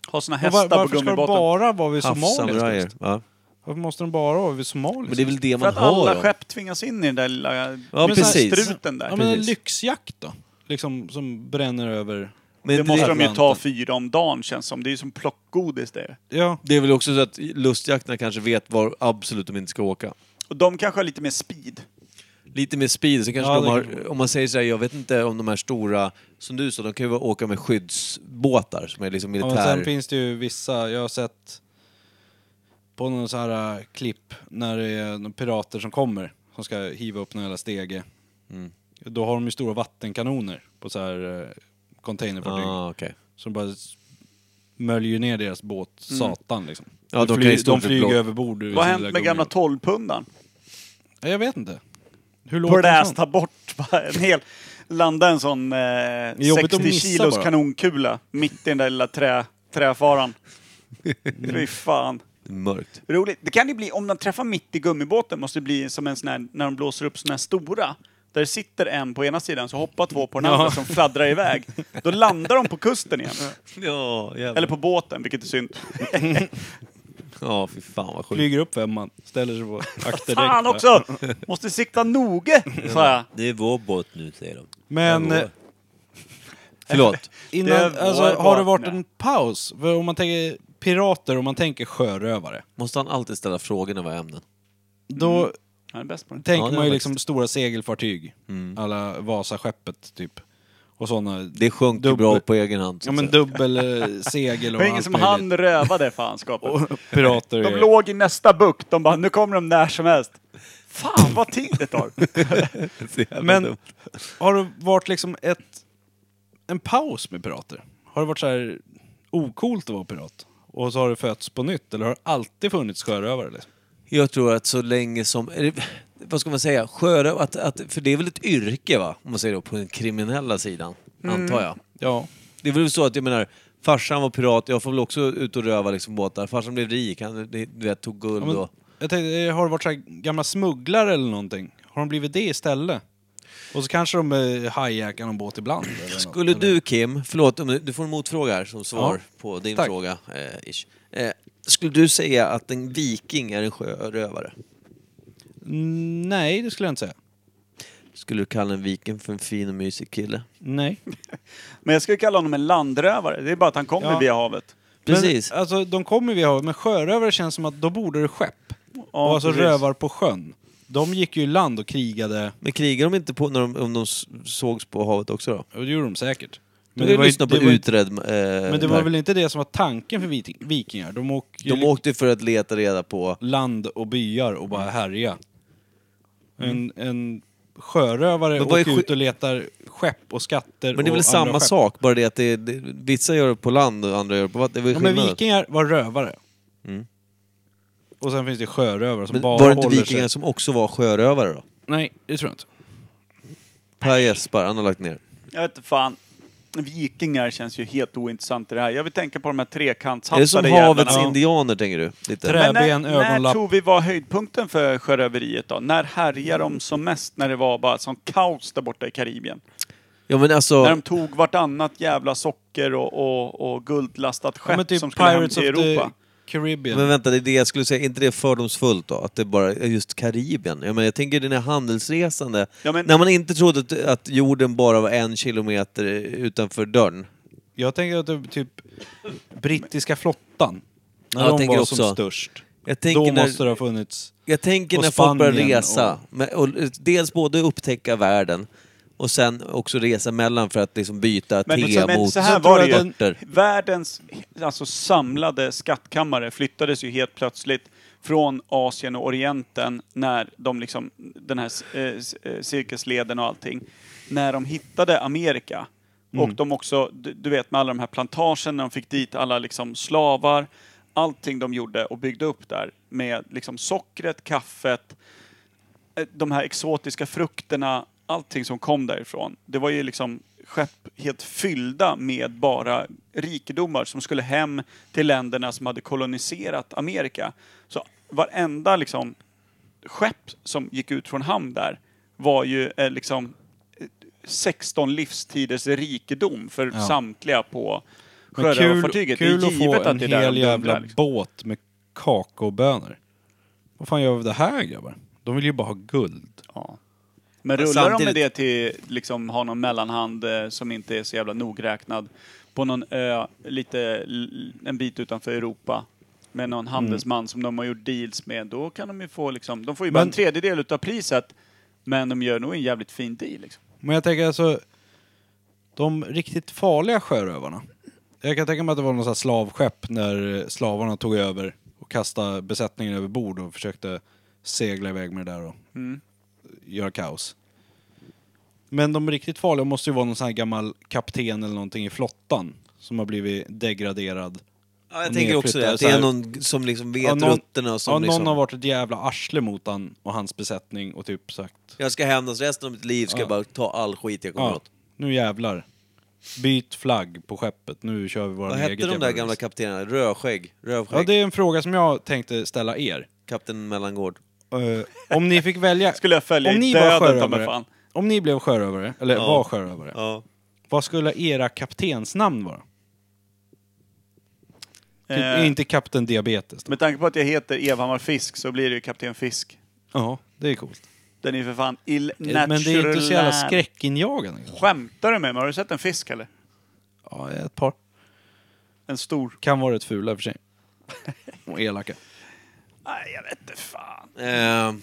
Speaker 4: Har såna
Speaker 5: Och
Speaker 4: hästar
Speaker 5: var, varför
Speaker 4: på
Speaker 5: ska de
Speaker 4: gummibotten.
Speaker 5: bara vara vid Somalia?
Speaker 8: Havssamurajer.
Speaker 5: just?
Speaker 8: Ja.
Speaker 5: Varför måste de bara vara vid Somalia?
Speaker 8: Men det är väl det
Speaker 4: För
Speaker 8: man
Speaker 4: att alla
Speaker 8: hör om.
Speaker 4: skepp tvingas in i den där lilla
Speaker 8: Ja,
Speaker 4: den där
Speaker 8: precis.
Speaker 4: struten där.
Speaker 5: Ja, men en
Speaker 8: Precis.
Speaker 5: lyxjakt då? Liksom som bränner över...
Speaker 8: Men
Speaker 4: det måste de ju ta
Speaker 5: Atlanten.
Speaker 4: fyra om dagen känns som. Det är ju som plockgodis det.
Speaker 5: Ja.
Speaker 8: Det är väl också så att lustjakterna kanske vet var absolut de inte ska åka.
Speaker 4: Och de kanske har lite mer speed.
Speaker 8: Lite mer speed, så kanske
Speaker 5: Ja,
Speaker 8: de
Speaker 5: det
Speaker 8: har,
Speaker 5: kanske-
Speaker 8: om man säger så här, jag vet inte om de här stora, som du sa, de kan ju åka med skyddsbåtar som är liksom
Speaker 5: Ja, men sen
Speaker 8: militär...
Speaker 5: finns det ju vissa, jag har sett på någon så här äh, klipp när det är några pirater som kommer som ska hiva upp någon jävla stege.
Speaker 8: Mm.
Speaker 5: Då har de ju stora vattenkanoner på så här äh, containerfartyg.
Speaker 8: ah, okej.
Speaker 5: Som bara s- möljer ner deras båt, satan liksom.
Speaker 8: Mm. Ja, de
Speaker 5: de,
Speaker 8: kan
Speaker 5: fly,
Speaker 8: ju stå
Speaker 5: de
Speaker 8: för
Speaker 5: flyger
Speaker 8: blå-
Speaker 5: överbord. ur
Speaker 4: Vad
Speaker 5: sin
Speaker 4: har hänt
Speaker 5: lilla
Speaker 4: med gamla
Speaker 5: gummi.
Speaker 4: 12-pundaren?
Speaker 5: Ja, Jag vet inte. Hur låter en
Speaker 4: Blast,
Speaker 5: sån?
Speaker 4: ta bort va? en hel... Landa en sån eh,
Speaker 5: jobbigt att
Speaker 4: 60
Speaker 5: missa
Speaker 4: kilos
Speaker 5: bara.
Speaker 4: kanonkula mitt i den där lilla trä, träfaran. Fy fan.
Speaker 8: Mörkt.
Speaker 4: Roligt. Det kan det bli, om de träffar mitt i gummibåten måste det bli som en sån här, när de blåser upp såna här stora. Där det sitter en på ena sidan så hoppar två på den andra som fladdrar iväg. Då landar de på kusten igen.
Speaker 8: Ja, jävlar.
Speaker 4: Eller på båten, vilket är synd.
Speaker 8: Ja, fy fan vad sjukt.
Speaker 5: Flyger upp femman, ställer sig på akterdäck.
Speaker 4: Fan
Speaker 5: där.
Speaker 4: också! Måste sikta noga, sa jag.
Speaker 8: Det är vår båt nu, säger de.
Speaker 5: Men...
Speaker 8: Ja,
Speaker 5: eh,
Speaker 8: vår. Förlåt.
Speaker 5: Innan,
Speaker 4: Det
Speaker 5: alltså,
Speaker 4: var
Speaker 5: har det varit
Speaker 4: vapnet.
Speaker 5: en paus? För om man tänker pirater och man tänker sjörövare,
Speaker 8: Måste han alltid ställa frågorna vad är ämnen?
Speaker 5: då
Speaker 4: Han är Mm. bäst på Mm. det.
Speaker 5: tänker
Speaker 8: Ja, det
Speaker 5: man ju
Speaker 8: var
Speaker 5: liksom stora segelfartyg. Alla Vasaskeppet, typ. Och sådana.
Speaker 8: Det sjönk ju
Speaker 5: Dubbel-
Speaker 8: bra på egen hand. så
Speaker 5: ja,
Speaker 8: att
Speaker 5: men
Speaker 8: säga.
Speaker 5: dubbel eh, segel
Speaker 4: liksom Det
Speaker 5: och
Speaker 4: var ingen
Speaker 5: allt
Speaker 4: som
Speaker 5: möjligt.
Speaker 4: han rövade fanskapet.
Speaker 5: Pirater
Speaker 4: De
Speaker 5: är-
Speaker 4: låg i nästa bukt, de bara nu kommer de när som helst. Fan vad tid det tar.
Speaker 5: Men har det varit liksom ett, en paus med pirater? Har det varit så här ocoolt att vara pirat? Och så har det fötts på nytt? Eller har det alltid funnits sjörövare? Liksom?
Speaker 8: Jag tror att så länge som... eller, Vad ska man säga? Sjöröv... Att, att, för det är väl ett yrke, va? Om man säger då, på den kriminella sidan. Antar jag.
Speaker 5: Ja.
Speaker 8: Det är väl så att jag menar, farsan var pirat, jag får väl också ut och röva liksom båtar. Farsan blev rik, han du vet, tog guld
Speaker 5: Ja, men,
Speaker 8: och...
Speaker 5: Jag tänkte, eh, har det varit så här gamla smugglare eller någonting? Har de blivit det istället? Och så kanske de eh, hijackar någon båt ibland. Eller något,
Speaker 8: Skulle
Speaker 5: eller?
Speaker 8: du Kim, förlåt, om du- du får en motfråga här som svar på din
Speaker 5: Tack.
Speaker 8: fråga. Eh, ish. Eh, skulle du säga att en viking är en sjörövare?
Speaker 5: Mm, Nej, det skulle jag inte säga.
Speaker 8: Skulle du kalla en viking för en fin och mysig kille?
Speaker 5: Nej.
Speaker 4: Men jag skulle kalla honom en landrövare, det är bara att han kommer
Speaker 5: Ja.
Speaker 4: via havet.
Speaker 8: Precis.
Speaker 5: Men, alltså, de kommer vi ha, men sjörövare känns som att då borde det skepp.
Speaker 4: Ja,
Speaker 5: och alltså
Speaker 4: precis.
Speaker 5: rövar på sjön. De gick ju i land och krigade.
Speaker 8: Men krigar de inte på när de, om de s- sågs på havet också då?
Speaker 5: Och det gjorde de säkert.
Speaker 8: Men du
Speaker 5: var ju-
Speaker 8: lyssnar på
Speaker 5: det var ju-
Speaker 8: Utred. Eh,
Speaker 5: Men det var
Speaker 8: där.
Speaker 5: väl inte det som var tanken för vit- vikingar? De åkte ju
Speaker 8: De åkte ju för att leta reda på...
Speaker 5: land och byar och
Speaker 8: Mm.
Speaker 5: bara härja. En, en sjörövare
Speaker 8: Men vad är
Speaker 5: åker
Speaker 8: sky-
Speaker 5: ut och letar skepp och skatter
Speaker 8: Men det är väl
Speaker 5: och
Speaker 8: samma
Speaker 5: andra skepp.
Speaker 8: sak, bara det att det, det, vissa gör det på land och andra gör det på vatten. Det
Speaker 5: Ja,
Speaker 8: var ju
Speaker 5: men
Speaker 8: skillnaden.
Speaker 5: vikingar var rövare.
Speaker 8: Mm.
Speaker 5: Och sen finns det sjörövare som
Speaker 8: Men
Speaker 5: bara
Speaker 8: var det inte
Speaker 5: håller
Speaker 8: vikingar
Speaker 5: sig...
Speaker 8: som också var sjörövare då?
Speaker 5: Nej, det tror jag inte.
Speaker 8: Per Jesper, han har lagt ner.
Speaker 4: Jag vet inte fan. Vikingar känns ju helt ointressant i det här. Jag vill tänka på de här
Speaker 8: Är det som
Speaker 4: trekantshattade
Speaker 8: havets
Speaker 4: jävlarna.
Speaker 8: indianer, tänker du? Lite.
Speaker 5: Trä-
Speaker 4: Men när,
Speaker 5: Träben,
Speaker 4: när
Speaker 5: ögonlapp.
Speaker 4: tror vi var höjdpunkten för sjöröveriet då? När härjade de som mest? När det var bara som kaos där borta i Karibien?
Speaker 8: Ja men
Speaker 4: När
Speaker 8: alltså,
Speaker 4: de tog vartannat jävla socker och, och, och guldlastat
Speaker 5: Ja,
Speaker 4: skepp
Speaker 5: men typ
Speaker 4: som skulle hem
Speaker 5: Pirates
Speaker 4: till
Speaker 5: of
Speaker 4: Europa.
Speaker 5: the Caribbean.
Speaker 8: men vänta, det är det jag skulle säga. Är inte det fördomsfullt då? Att det bara är just Karibien? Jag, menar, jag tänker den här handelsresande.
Speaker 4: Ja, men-
Speaker 8: När man inte trodde att, att jorden bara var en kilometer utanför dörren.
Speaker 5: Jag tänker att det, typ brittiska flottan. När
Speaker 8: Ja, jag
Speaker 5: de
Speaker 8: tänker
Speaker 5: var
Speaker 8: också.
Speaker 5: som störst.
Speaker 8: Jag
Speaker 5: Då
Speaker 8: tänker
Speaker 5: måste
Speaker 8: när,
Speaker 5: det ha funnits...
Speaker 8: jag tänker
Speaker 5: och
Speaker 8: när folk börjar
Speaker 5: Spanien
Speaker 8: resa.
Speaker 5: och-
Speaker 8: Men, och, dels både upptäcka världen Och sen också resa mellan för att liksom byta
Speaker 4: Men,
Speaker 8: te
Speaker 4: så, men
Speaker 8: mot
Speaker 4: så här var det ju.
Speaker 8: örter.
Speaker 4: Världens alltså, samlade skattkammare flyttades ju helt plötsligt från Asien och Orienten när de liksom, den här eh, s- eh, cirkusleden och allting, när de hittade Amerika.
Speaker 5: Mm.
Speaker 4: Och de också, du du vet med alla de här plantagerna, de fick dit alla liksom slavar, allting de gjorde och byggde upp där med liksom sockret, kaffet, eh, de här exotiska frukterna, allting som kom därifrån. Det var ju liksom skepp helt fyllda med bara rikedomar som skulle hem till länderna som hade koloniserat Amerika. Så varenda liksom skepp som gick ut från hamn där var ju eh, liksom eh, 16 livstiders rikedom för samtliga på
Speaker 5: Men kul,
Speaker 4: sjörövarfartyget. Det är
Speaker 5: kul att få
Speaker 4: givet
Speaker 5: en
Speaker 4: att det är där
Speaker 5: hel
Speaker 4: de dundrar.
Speaker 5: jävla
Speaker 4: Liksom.
Speaker 5: båt med kakaobönor. Vad fan gör vi av det här grabbar? De vill ju bara ha guld.
Speaker 4: Ja. Men
Speaker 8: Men
Speaker 4: rullar de med
Speaker 8: samtidigt-
Speaker 4: det till liksom ha någon mellanhand eh, som inte är så jävla nogräknad på någon ö lite l- en bit utanför Europa med
Speaker 5: Mm.
Speaker 4: någon handelsman som de har gjort deals med, då kan de ju få liksom, de får ju bara
Speaker 5: Men-
Speaker 4: en tredjedel utav priset, men de gör nog en jävligt fin deal liksom.
Speaker 5: Men jag tänker alltså, de riktigt farliga sjörövarna. Jag kan tänka mig att det var något så här slavskepp när eh, slavarna tog över och kastade besättningen över bord och försökte segla iväg med det där och
Speaker 4: Mm.
Speaker 5: göra kaos. Men de riktigt farliga måste ju vara någon sån här gammal kapten eller någonting i flottan som har blivit degraderad.
Speaker 8: Ja, jag
Speaker 5: Och
Speaker 8: tänker också det.
Speaker 5: nedflyttade
Speaker 8: Att det är
Speaker 5: så här.
Speaker 8: någon som liksom vet
Speaker 5: Ja, någon,
Speaker 8: rutterna och som
Speaker 5: ja,
Speaker 8: liksom...
Speaker 5: någon har varit ett jävla arsle mot han och hans besättning och typ sagt
Speaker 8: Jag ska hämnas resten av mitt liv, ska
Speaker 5: Ja.
Speaker 8: jag bara ta all skit jag kommer
Speaker 5: ja,
Speaker 8: åt.
Speaker 5: nu jävlar. Byt flagg på skeppet, nu kör vi våra
Speaker 8: Vad
Speaker 5: eget
Speaker 8: hette de
Speaker 5: jävla
Speaker 8: där
Speaker 5: race.
Speaker 8: gamla kaptenerna? Rödskägg? Rövskägg?
Speaker 5: Ja, det är en fråga som jag tänkte ställa er.
Speaker 8: Kapten Mellangård?
Speaker 5: Eh, om ni fick välja...
Speaker 4: Skulle jag följa
Speaker 5: om
Speaker 4: i
Speaker 5: ni
Speaker 4: döden, ta mig
Speaker 5: sjörövare,
Speaker 4: fan.
Speaker 5: Om ni blev sjörövare, eller
Speaker 8: Ja.
Speaker 5: var sjörövare,
Speaker 8: Ja.
Speaker 5: vad skulle era kaptensnamn vara? Typ,
Speaker 4: Eh,
Speaker 5: Inte kapten diabetes då.
Speaker 4: med tanke på att jag heter Evhammar Fisk så blir det ju Kapten Fisk.
Speaker 5: Ja, det är coolt.
Speaker 4: Den är ju för fan ill
Speaker 5: Eh, Men det är inte så jävla skräckinjagande. kanske.
Speaker 4: Skämtar du med mig? Har du sett en fisk eller?
Speaker 5: Ja, ett par.
Speaker 4: En stor?
Speaker 5: Kan vara rätt fula i och för sig. Och elaka.
Speaker 4: Nej, jag vet inte fan.
Speaker 8: Eh,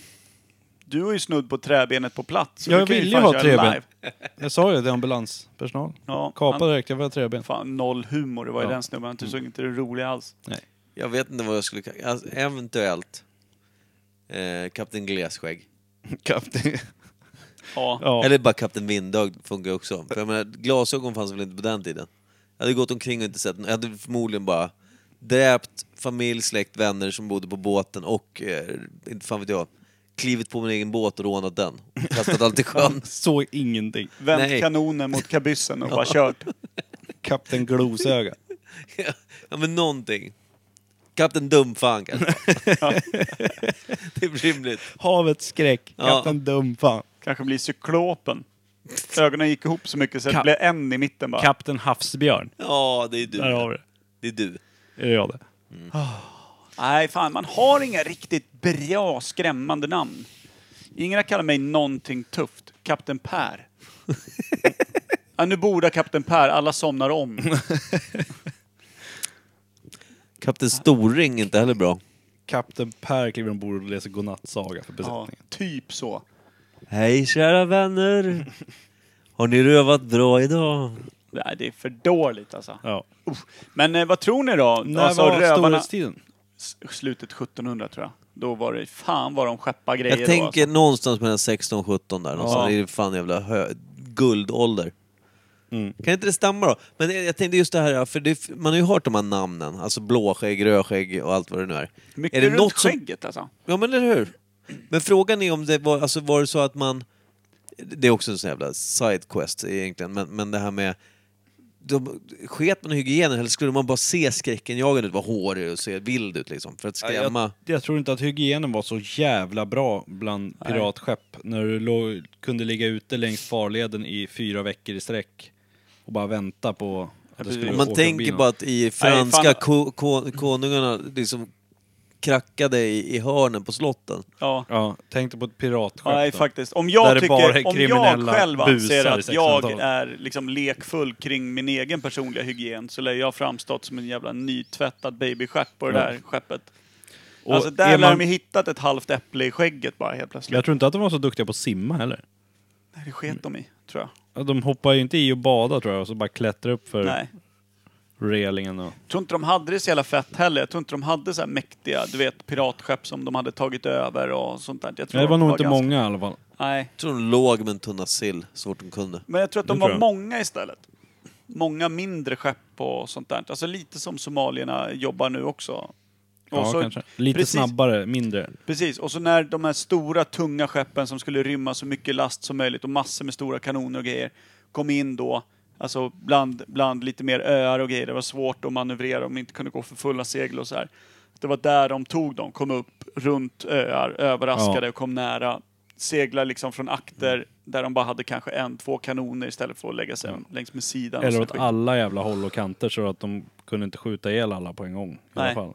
Speaker 4: Du har ju snudd på träbenet på plats. så
Speaker 5: Jag
Speaker 4: du kan
Speaker 5: ville ju
Speaker 4: fan
Speaker 5: ha
Speaker 4: köra
Speaker 5: träben.
Speaker 4: live.
Speaker 5: Jag sa ju det, ambulanspersonal.
Speaker 4: Ja,
Speaker 5: Kapade
Speaker 4: han-
Speaker 5: direkt, jag var treben.
Speaker 4: Fan, noll humor. Det var ju
Speaker 5: Ja. Mm.
Speaker 4: den snubben. Han såg inte det roliga alls.
Speaker 8: jag vet inte vad jag skulle... ka- Alltså, eventuellt eh, Kapten Gleskägg.
Speaker 5: Kapten.
Speaker 4: Ja.
Speaker 5: Ja.
Speaker 8: Eller bara Kapten Vindögd funkar också. För jag menar, glasögon fanns väl inte på den tiden? Jag hade gått omkring och inte sett Jag hade förmodligen bara dräpt familj, släkt, vänner som bodde på båten och, eh, inte fan vet jag, klivit på min egen båt och rånat den. Kastat allt i sjön.
Speaker 5: Såg ingenting.
Speaker 4: Vänt
Speaker 8: Nej.
Speaker 4: kanonen mot kabyssen och bara kört.
Speaker 5: Kapten Glosöga.
Speaker 8: ja men någonting. Kapten Dumfang kanske. Det är rimligt.
Speaker 5: Havets skräck.
Speaker 8: Ja.
Speaker 5: Kapten Dumfan.
Speaker 4: Kanske blir cyklopen. Ögonen gick ihop så mycket så det blev en i mitten bara.
Speaker 5: Kapten Havsbjörn.
Speaker 8: Ja, det är du.
Speaker 5: Där har vi det.
Speaker 8: Det är du.
Speaker 5: Är det jag det?
Speaker 4: Nej, fan. Man har inga riktigt bra skrämmande namn. Ingen har kallat mig någonting tufft. Kapten Per. ja, nu borde Kapten Per. Alla somnar om.
Speaker 8: Kapten Storring är inte heller bra.
Speaker 5: Kapten Per kliver ombord och läser godnattsaga för
Speaker 4: Ja,
Speaker 5: besättningen.
Speaker 4: typ så.
Speaker 8: Hej kära vänner! Har ni rövat bra idag?
Speaker 4: Nej, det är för dåligt alltså.
Speaker 5: Ja.
Speaker 4: Men eh, vad tror ni då?
Speaker 5: När
Speaker 4: alltså,
Speaker 5: var
Speaker 4: rövarna...
Speaker 5: storhetstiden?
Speaker 4: S- Slutet 1700 tror jag. Då var det, fan vad de skeppade grejer
Speaker 8: Jag tänker
Speaker 4: då. Alltså.
Speaker 8: någonstans mellan 16 och 17 där. Någonstans. Det är fan jävla hö- guldålder. Kan inte det stämma då? Men jag jag tänkte just det här, för det, man har ju hört de här namnen. Alltså blåskägg, rödskägg och allt vad det nu är.
Speaker 4: Mycket
Speaker 8: är det
Speaker 4: runt
Speaker 8: något som
Speaker 4: skägget alltså.
Speaker 8: Ja men eller hur? Men frågan är om det var, alltså var det så att man... Det är också en sån jävla sidequest egentligen, men, men det här med... De, sket man i hygienen eller skulle man bara se skräckenjagande ut, vara hårig och se vild ut liksom? För att skrämma...
Speaker 5: Jag tror inte att hygienen var så jävla bra bland piratskepp. När du låg, kunde ligga ute längs farleden i fyra veckor i sträck och bara vänta på att det
Speaker 4: precis.
Speaker 5: skulle
Speaker 8: Om
Speaker 5: åka
Speaker 8: man
Speaker 5: förbi
Speaker 8: tänker
Speaker 5: någon.
Speaker 8: bara att i franska
Speaker 4: fan.
Speaker 8: ko, ko, konungarna liksom krackade i, i hörnen på slotten.
Speaker 4: Ja.
Speaker 5: Ja, tänkte på ett piratskepp
Speaker 4: Nej,
Speaker 5: då.
Speaker 4: faktiskt. Om
Speaker 5: Där
Speaker 4: jag,
Speaker 5: det bara
Speaker 4: tycker,
Speaker 5: är
Speaker 4: om jag
Speaker 5: kriminella
Speaker 4: själv anser
Speaker 5: busar i
Speaker 4: att jag
Speaker 5: 1600-talet.
Speaker 4: är liksom lekfull kring min egen personliga hygien så lär jag framstått som en jävla nytvättad babystjärt på
Speaker 5: Ja.
Speaker 4: det där skeppet.
Speaker 5: Och
Speaker 4: alltså där
Speaker 5: är
Speaker 4: lär
Speaker 5: man-
Speaker 4: de ju hittat ett halvt äpple i skägget bara helt plötsligt.
Speaker 5: Jag tror inte att de var så duktiga på att simma heller.
Speaker 4: Nej, det sket de i, tror jag.
Speaker 5: Ja, De hoppar ju inte i och badar tror jag och så bara klättrar upp för
Speaker 4: Nej.
Speaker 5: relingen och...
Speaker 4: Jag tror inte de hade det så jävla fett heller. Jag tror inte de hade så här mäktiga, du vet, piratskepp som de hade tagit över och sånt där. Jag tror
Speaker 5: Nej, det var
Speaker 4: de
Speaker 5: nog inte
Speaker 4: ganska-
Speaker 5: många i alla fall.
Speaker 4: Nej.
Speaker 8: Jag tror de låg med en tunna sill så fort de kunde.
Speaker 4: Men jag tror att de
Speaker 5: Det
Speaker 4: var
Speaker 5: tror jag.
Speaker 4: många istället. Många mindre skepp och sånt där. Alltså lite som somalierna jobbar nu också. Och
Speaker 5: Ja,
Speaker 4: så-
Speaker 5: kanske. Lite
Speaker 4: precis,
Speaker 5: snabbare, mindre.
Speaker 4: Precis, och så när de här stora tunga skeppen som skulle rymma så mycket last som möjligt och massor med stora kanoner och grejer kom in då, alltså bland, bland lite mer öar och grejer. Det var svårt att manövrera om de inte kunde gå för fulla segel och så här. Det var där de tog dem, kom upp runt öar, överraskade
Speaker 5: Ja.
Speaker 4: och kom nära. Seglar liksom från akter där de bara hade kanske en, två kanoner istället för att lägga sig längs med sidan. och
Speaker 5: Mm. Eller
Speaker 4: så
Speaker 5: åt
Speaker 4: skit.
Speaker 5: alla jävla håll och kanter så att de kunde inte skjuta ihjäl alla på en gång. I
Speaker 4: Nej.
Speaker 5: alla fall.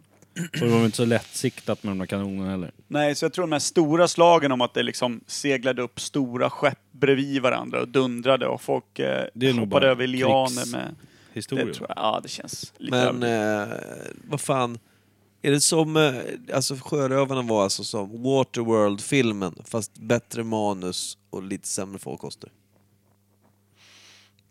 Speaker 5: Och det var väl inte så lättsiktat med de där kanonerna heller.
Speaker 4: Nej, så jag tror de här stora slagen om att det liksom seglade upp stora skepp bredvid varandra och dundrade och folk eh,
Speaker 5: Det är nog
Speaker 4: hoppade
Speaker 5: bara
Speaker 4: över lianer
Speaker 5: krigs-
Speaker 4: med...
Speaker 5: Historia.
Speaker 4: Det tror jag, ja, det känns lite
Speaker 8: Men
Speaker 4: överdrivet.
Speaker 8: eh, vad fan. Är det som, eh, alltså Sjörövarna var alltså som Waterworld-filmen fast bättre manus och lite sämre farkoster.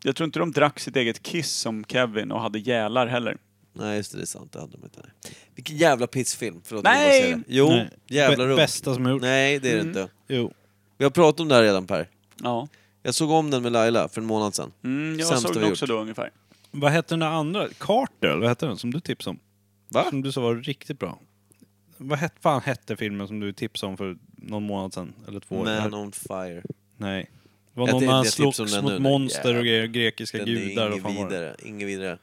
Speaker 4: Jag tror inte de drack sitt eget kiss som Kevin och hade gälar heller.
Speaker 8: Nej just det, det är sant. Det hade de inte. Nej. Vilken jävla pissfilm. Förlåt
Speaker 4: Nej! Mm.
Speaker 8: jag bara säger det. Jo,
Speaker 5: Nej.
Speaker 8: jävla
Speaker 5: Bä-
Speaker 8: rum.
Speaker 5: Bästa som jag gjort.
Speaker 8: Nej det är det inte.
Speaker 5: Jo.
Speaker 8: Vi har pratat om det här redan Per.
Speaker 4: Ja.
Speaker 8: Jag såg om den med Laila för en månad sedan.
Speaker 4: Mm, jag
Speaker 8: Sämsta
Speaker 4: såg
Speaker 8: vi
Speaker 4: det
Speaker 8: gjort.
Speaker 4: också då ungefär.
Speaker 5: Vad hette den där andra? Carter, eller vad hette den? Som du tipsade om?
Speaker 8: Va?
Speaker 5: Som du sa var riktigt bra. Vad het, fan hette filmen som du tipsade om för någon månad sedan? Eller två? år?
Speaker 8: Man on fire.
Speaker 5: Nej. Det var
Speaker 8: Jag
Speaker 5: någon
Speaker 8: tänkte-
Speaker 5: när han
Speaker 8: jag tipsade om
Speaker 5: slogs
Speaker 8: den
Speaker 5: mot
Speaker 8: nu.
Speaker 5: monster och grejer, grekiska
Speaker 8: Den
Speaker 5: gudar
Speaker 8: är
Speaker 5: och
Speaker 8: inget
Speaker 5: fan vad det var.
Speaker 8: vidare. Inget vidare.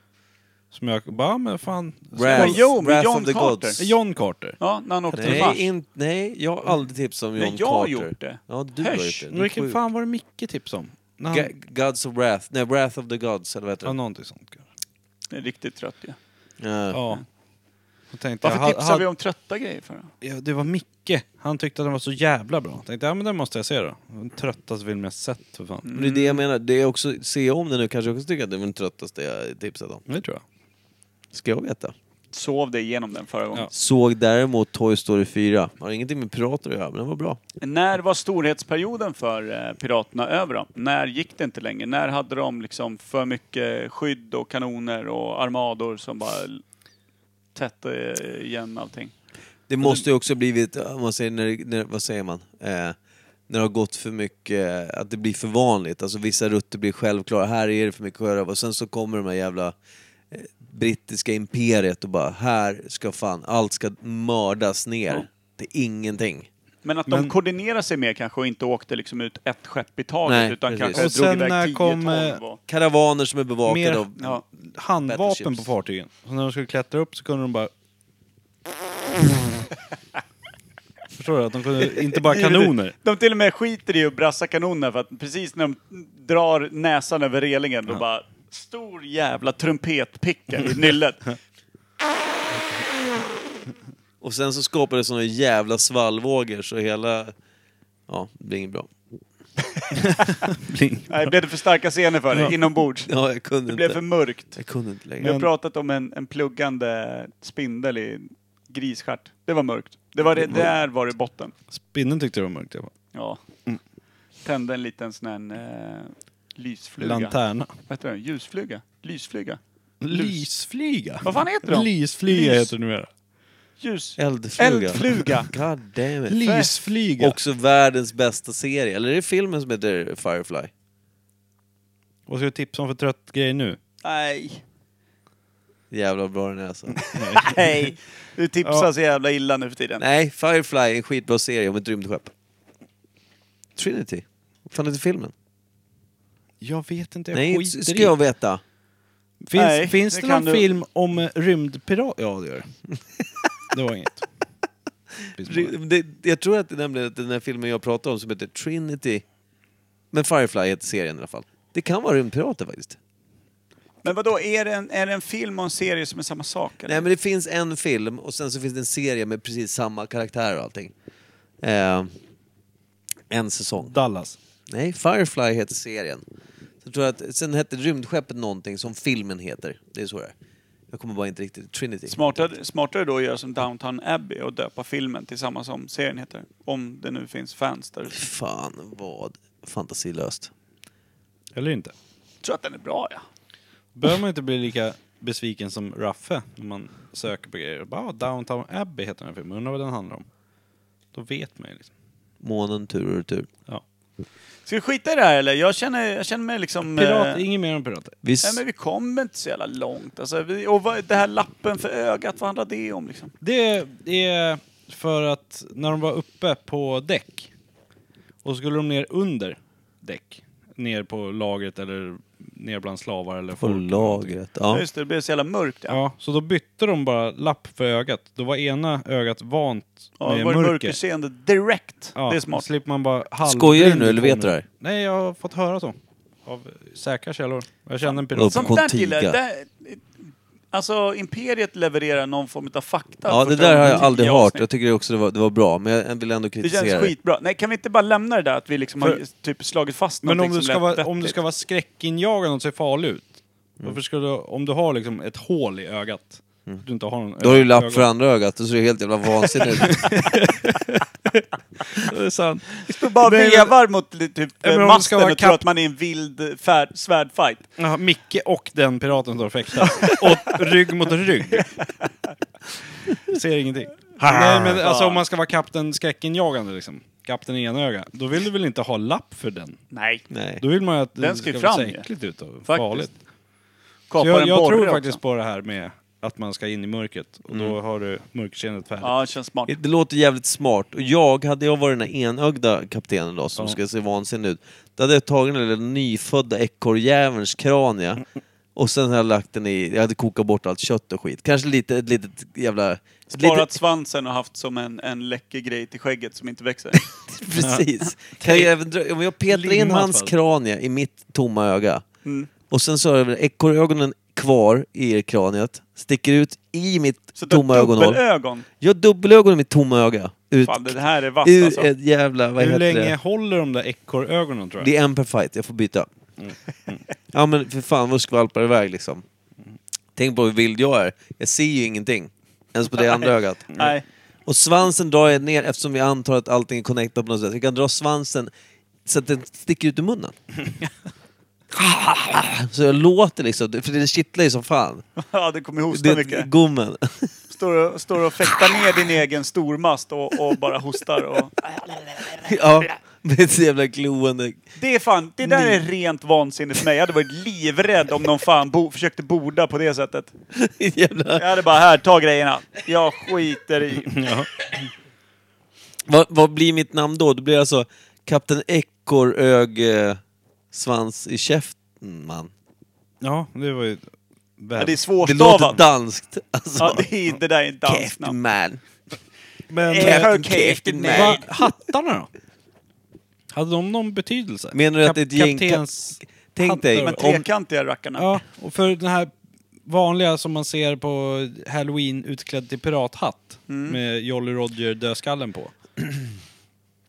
Speaker 5: Som jag bara, men fan.
Speaker 8: Wrath,
Speaker 4: jo, men
Speaker 8: Wrath
Speaker 4: John
Speaker 8: of the
Speaker 4: Carter.
Speaker 8: Gods.
Speaker 5: John Carter.
Speaker 4: Ja, när han åkte till Mars.
Speaker 8: Nej, in, nej, jag har aldrig tipsat om John
Speaker 4: Men jag har
Speaker 8: Carter.
Speaker 4: gjort det.
Speaker 8: Ja, du har
Speaker 4: Hörs.
Speaker 8: gjort det.
Speaker 5: Men vilken
Speaker 8: Sjuk.
Speaker 5: fan var det Micke tipsade om? När han-
Speaker 8: Ga- Gods of Wrath. Nej, Wrath of the Gods, eller vad heter
Speaker 5: Ja,
Speaker 8: det?
Speaker 5: någonting sånt kanske.
Speaker 4: Jag är riktigt trött ju.
Speaker 8: Ja.
Speaker 5: Ja. Jag tänkte,
Speaker 4: Varför
Speaker 5: jag,
Speaker 4: tipsar vi om trötta grejer för? då?
Speaker 5: Ja, det var Micke. Han tyckte att den var så jävla bra. Jag tänkte, ja men den måste jag se då. Den tröttaste film jag sett för fan.
Speaker 8: Men det är det jag menar. Det är också, ser jag om den nu kanske jag också tycker att det var den tröttaste jag tipsat om.
Speaker 5: Det tror jag.
Speaker 8: Ska jag veta.
Speaker 4: Sov dig igenom den förra gången.
Speaker 8: Såg däremot Toy Story 4. Har ingenting med pirater att göra, men den var bra.
Speaker 4: När var storhetsperioden för eh, Piraterna över då? När gick det inte längre? När hade de liksom för mycket skydd och kanoner och armador som bara l- tätte eh, igen allting?
Speaker 8: Det måste ju också blivit, om man säger, när, det- när, vad säger man? Eh, när det har gått för mycket, eh, att det blir för vanligt. Alltså vissa rutter blir självklara. Här är det för mycket sjörövare. Och sen så kommer de här jävla eh, brittiska imperiet och bara här ska fan, allt ska mördas ner.
Speaker 4: Ja.
Speaker 8: Det är ingenting.
Speaker 4: Men att de
Speaker 5: Men-
Speaker 4: koordinerade sig mer kanske och inte åkte liksom ut ett skepp i taget
Speaker 8: Nej,
Speaker 4: utan
Speaker 8: precis.
Speaker 4: kanske
Speaker 8: Och
Speaker 4: drog
Speaker 5: sen
Speaker 4: iväg
Speaker 5: när
Speaker 4: 10
Speaker 5: kom,
Speaker 4: kom,
Speaker 5: eh,
Speaker 4: och...
Speaker 8: Karavaner som är bevakade
Speaker 5: Mer-
Speaker 8: av...
Speaker 4: Ja.
Speaker 5: Handvapen
Speaker 8: Battleships.
Speaker 5: på fartygen. Så när de skulle klättra upp så kunde de bara... Förstår du? Att de kunde, inte bara kanoner.
Speaker 4: De till och med skiter i att brassa kanoner för att precis när de drar näsan över relingen då bara stor jävla trumpetpicka i nyllet.
Speaker 8: Och sen så skapades såna jävla svallvågor så hela... Ja, det blir inget bra.
Speaker 5: Bling.
Speaker 4: Nej, blev det för starka scener för dig inombords?
Speaker 8: Ja, jag kunde
Speaker 4: Det blev
Speaker 8: inte.
Speaker 4: för mörkt.
Speaker 8: Jag kunde inte längre.
Speaker 4: Vi har pratat om en, en pluggande spindel i grisstjärt. Det var mörkt. Det var det, där var det botten.
Speaker 5: Spindeln tyckte det var mörkt. Jag bara,
Speaker 4: Ja. Tände en liten sån här eh, lysfluga.
Speaker 5: Lanterna.
Speaker 4: Vad heter den? Ljusfluga? Lysflyga?
Speaker 5: Lysflyga.
Speaker 4: Vad fan heter de?
Speaker 5: Lysflyga
Speaker 4: Lys-
Speaker 5: heter det numera.
Speaker 4: Ljus...
Speaker 8: Eldfluga.
Speaker 4: Eldfluga.
Speaker 8: God damn it.
Speaker 5: Lysflyga.
Speaker 8: Också världens bästa serie. Eller är det filmen som heter Firefly?
Speaker 5: Vad ska du tipsa om för trött grej nu?
Speaker 4: Nej.
Speaker 8: Jävla bra den är alltså.
Speaker 4: Nej. Du tipsar
Speaker 5: Ja.
Speaker 4: så jävla illa nu för tiden.
Speaker 8: Nej, Firefly är en skitbra serie om ett rymdskepp. Trinity. Vad fan heter filmen?
Speaker 5: Jag vet inte, jag
Speaker 8: Nej,
Speaker 5: skiter
Speaker 8: s- ska jag veta.
Speaker 5: Finns,
Speaker 4: Nej,
Speaker 5: finns
Speaker 4: det
Speaker 5: det,
Speaker 4: kan
Speaker 5: någon
Speaker 4: du-
Speaker 5: film om eh, rymdpirat? Ja, det gör det. Det var inget. Finns det
Speaker 8: Ry-
Speaker 5: bara.
Speaker 8: Det, jag tror att det är nämligen att den här filmen jag pratar om som heter Trinity. Men Firefly heter serien i alla fall. Det kan vara rymdpirater faktiskt.
Speaker 4: Men vadå, är det, en, är det en film och en serie som är samma sak? Eller?
Speaker 8: Nej men det finns en film och sen så finns det en serie med precis samma karaktärer och allting. Eh, en säsong.
Speaker 5: Dallas.
Speaker 8: Nej, Firefly heter serien. Så tror jag att, sen hette rymdskeppet någonting som filmen heter. Det är så det är. Jag kommer bara inte riktigt... Trinity.
Speaker 4: Smartare, smartare då att göra som Downton Abbey och döpa filmen till samma som serien heter. Om det nu finns fans där ute.
Speaker 8: Fan vad fantasilöst.
Speaker 5: Eller inte.
Speaker 4: Jag tror att den är bra ja.
Speaker 5: Behöver man inte bli lika besviken som Raffe när man söker på grejer. Bara, ah, Downtown Abbey heter den här filmen, undrar vad den handlar om. Då vet man ju liksom.
Speaker 8: Månen tur och retur.
Speaker 5: Ja.
Speaker 4: Ska vi skita i det här eller? Jag känner, jag känner mig liksom...
Speaker 5: Pirat,
Speaker 4: eh,
Speaker 5: inget mer om pirater.
Speaker 8: Vi
Speaker 4: Nej men vi kommer inte så jävla långt. Alltså, vi, och vad, det här lappen för ögat, vad handlar det om liksom?
Speaker 5: Det är för att när de var uppe på däck och skulle de ner under däck, ner på lagret eller ner bland slavar eller
Speaker 8: på
Speaker 5: folk.
Speaker 8: lagret.
Speaker 4: Ja.
Speaker 8: Ja.
Speaker 4: Just det, det blev så jävla mörkt ja.
Speaker 5: Ja, så då bytte de bara lapp för ögat. Då var ena ögat vant
Speaker 4: ja det
Speaker 5: med
Speaker 4: var
Speaker 5: mörker.
Speaker 4: mörkerseende direkt.
Speaker 5: Ja,
Speaker 4: det är smart.
Speaker 5: slipper man bara halv...
Speaker 8: Skojar du nu eller vet du det här?
Speaker 5: Nej, jag har fått höra så. Av säkra källor. Jag känner en
Speaker 8: Upp.
Speaker 5: pirat.
Speaker 4: Sånt där
Speaker 8: Contiga.
Speaker 4: gillar jag. Där- Alltså, Imperiet levererar någon form av fakta.
Speaker 8: Ja, det
Speaker 4: första
Speaker 8: där har
Speaker 4: gången
Speaker 8: jag
Speaker 4: i
Speaker 8: aldrig
Speaker 4: tio
Speaker 8: hört.
Speaker 4: avsnitt.
Speaker 8: Jag tycker också det var, det var bra, men jag vill ändå
Speaker 4: Det
Speaker 8: kritisera
Speaker 4: känns skitbra. Nej, kan vi inte bara lämna det där att vi liksom har
Speaker 5: För-
Speaker 4: typ slagit fast
Speaker 5: Men om
Speaker 4: någonting
Speaker 5: du,
Speaker 4: som
Speaker 5: ska
Speaker 4: lät
Speaker 5: vara, om du
Speaker 4: vettigt?
Speaker 5: ska vara skräckinjagande och se farlig ut.
Speaker 8: Mm.
Speaker 5: Varför ska du, om du har liksom ett hål i ögat. att Du inte har någon
Speaker 8: Då har Mm. du ju
Speaker 5: ö-
Speaker 8: lapp
Speaker 5: ögon.
Speaker 8: för andra ögat och så är det helt jävla vansinnigt.
Speaker 5: Det är sant.
Speaker 4: Du bara
Speaker 5: Nej, men-
Speaker 4: vevar mot li- typ
Speaker 5: men om
Speaker 4: eh,
Speaker 5: du ska
Speaker 4: masten
Speaker 5: vara
Speaker 4: och tror
Speaker 5: kap-
Speaker 4: att man är i en vild färd, svärdfight.
Speaker 5: Jaha, Micke och den piraten står och fäktar. och rygg mot rygg. Ser ingenting. Nej men alltså om man ska vara kapten skräckinjagande liksom. Kapten enöga. Då vill du väl inte ha lapp för den?
Speaker 4: Nej.
Speaker 8: Nej.
Speaker 5: Då vill man ju att
Speaker 4: Den
Speaker 5: det
Speaker 4: ska ju
Speaker 5: ska vara
Speaker 4: fram ju.
Speaker 5: säkert ut och farligt.
Speaker 4: Faktiskt. Kapar
Speaker 5: Så jag
Speaker 4: en
Speaker 5: jag
Speaker 4: borre
Speaker 5: tror
Speaker 4: också. Mm.
Speaker 5: faktiskt på det här med att man ska in i mörkret. Och då har du mörkerseendet färdigt.
Speaker 4: Ja, det känns smart.
Speaker 8: Det låter jävligt smart. Och jag, hade jag varit den här enögda kaptenen då, som ska se vansinnig ut, då hade jag tagit den där nyfödda ekorrjävelns krania och sen hade jag lagt den i, jag hade kokat bort allt kött och skit. Kanske lite, ett litet jävla...
Speaker 4: Sparat
Speaker 8: Lite,
Speaker 4: svansen och haft som en, en läcker grej till skägget som inte växer.
Speaker 8: precis. Kan jag även, dra- om jag petar in
Speaker 5: Limmat,
Speaker 8: hans
Speaker 5: va?
Speaker 8: krania i mitt tomma öga
Speaker 4: Mm.
Speaker 8: och sen så har jag väl ekorrögonen kvar i kraniet, sticker ut i mitt
Speaker 4: Så
Speaker 8: tomma ögonhål.
Speaker 4: dubbelögon.
Speaker 8: Jag har dubbelögon i mitt tomma öga. Ut,
Speaker 4: Fan, det här är vass
Speaker 8: ur
Speaker 4: alltså.
Speaker 8: ett jävla, vad
Speaker 5: Hur
Speaker 8: heter
Speaker 5: länge
Speaker 8: det?
Speaker 5: håller de där ekorrögonen tror jag?
Speaker 8: Det är en per fight, jag får byta.
Speaker 4: Mm.
Speaker 8: Ja men för fan vad skvalpar iväg liksom. Tänk på hur vild jag är. Jag ser ju ingenting. Ens på det andra ögat.
Speaker 4: Nej.
Speaker 8: Och svansen drar jag ner eftersom vi antar att allting är connectat på något sätt. Jag kan dra svansen så att den sticker ut ur munnen. så jag låter liksom, för det kittlar ju som fan.
Speaker 4: Ja, det kommer hosta
Speaker 8: Det,
Speaker 4: mycket.
Speaker 8: gommen.
Speaker 4: Står och, står och fäktar ner din egen stormast och, och bara hostar. Och...
Speaker 8: ja, med ett så jävla kloende...
Speaker 4: Det är fan, det där är rent vansinne för mig. Jag hade varit livrädd om någon fan bo, försökte borda på det sättet.
Speaker 8: jävla
Speaker 4: Jag hade bara, här, ta grejerna. Jag skiter i.
Speaker 8: Vad, vad blir mitt namn då? Det blir alltså Kapten Ekorrög eh, Svans i käften, man.
Speaker 5: Ja, det var ju...
Speaker 4: Ja, det är
Speaker 8: Det låter
Speaker 4: svårstavat.
Speaker 8: danskt. Alltså,
Speaker 4: Ja, det, är, det där är inte alls
Speaker 8: Käften,
Speaker 4: namn.
Speaker 8: man.
Speaker 5: Men,
Speaker 4: Eh,
Speaker 5: eh,
Speaker 8: Captain
Speaker 4: Captain
Speaker 8: Man.
Speaker 5: va, hattarna då? Hade de någon betydelse?
Speaker 8: Menar du att
Speaker 5: Kap-
Speaker 8: det är ett gäng-
Speaker 5: Kaptens...
Speaker 8: Tänk dig,
Speaker 4: Men
Speaker 8: om,
Speaker 4: trekantiga rackarna.
Speaker 5: Ja, och för den här vanliga som man ser på Halloween utklädd till pirathatt
Speaker 4: Mm.
Speaker 5: med Jolly Roger-dödskallen på.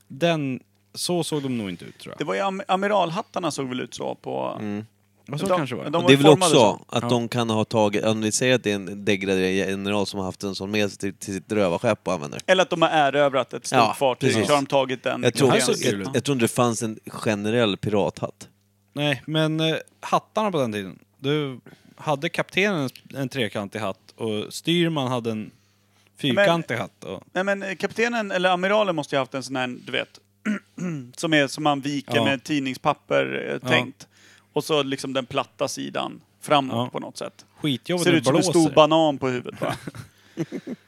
Speaker 5: Den... Så såg de nog inte ut tror
Speaker 4: Det
Speaker 5: jag.
Speaker 4: var ju am amiralhattarna såg väl ut så på... Mm.
Speaker 5: Och så
Speaker 4: de-
Speaker 5: kanske det var.
Speaker 4: de var
Speaker 8: det är väl
Speaker 4: formade
Speaker 8: också
Speaker 4: så.
Speaker 8: att
Speaker 5: Ja.
Speaker 8: de kan ha tagit, om vi säger att det är en degraderad general som har haft en sån med sig till, till sitt rövarskepp och använder.
Speaker 4: Eller att de har erövrat ett stort
Speaker 8: Ja,
Speaker 4: fartyg,
Speaker 8: precis.
Speaker 4: så har de tagit den.
Speaker 8: Jag tror,
Speaker 5: här
Speaker 8: jag,
Speaker 5: såg
Speaker 4: gränsen.
Speaker 5: kul ut.
Speaker 8: jag, tror inte det fanns en generell pirathatt.
Speaker 5: Nej, men eh, hattarna på den tiden. Du hade kaptenen en, en trekantig hatt och styrman hade en fyrkantig hatt. Och,
Speaker 4: Nej men eh, kaptenen, eller amiralen måste ju ha haft en sån här, du vet, som är som man viker
Speaker 5: Ja.
Speaker 4: med tidningspapper eh,
Speaker 5: Ja.
Speaker 4: tänkt. Och så liksom den platta sidan framåt
Speaker 5: Ja.
Speaker 4: på något sätt.
Speaker 5: skitjobbigt
Speaker 4: Ser
Speaker 5: när
Speaker 4: ut som en
Speaker 5: det
Speaker 4: stor
Speaker 5: blåser.
Speaker 4: banan på huvudet va?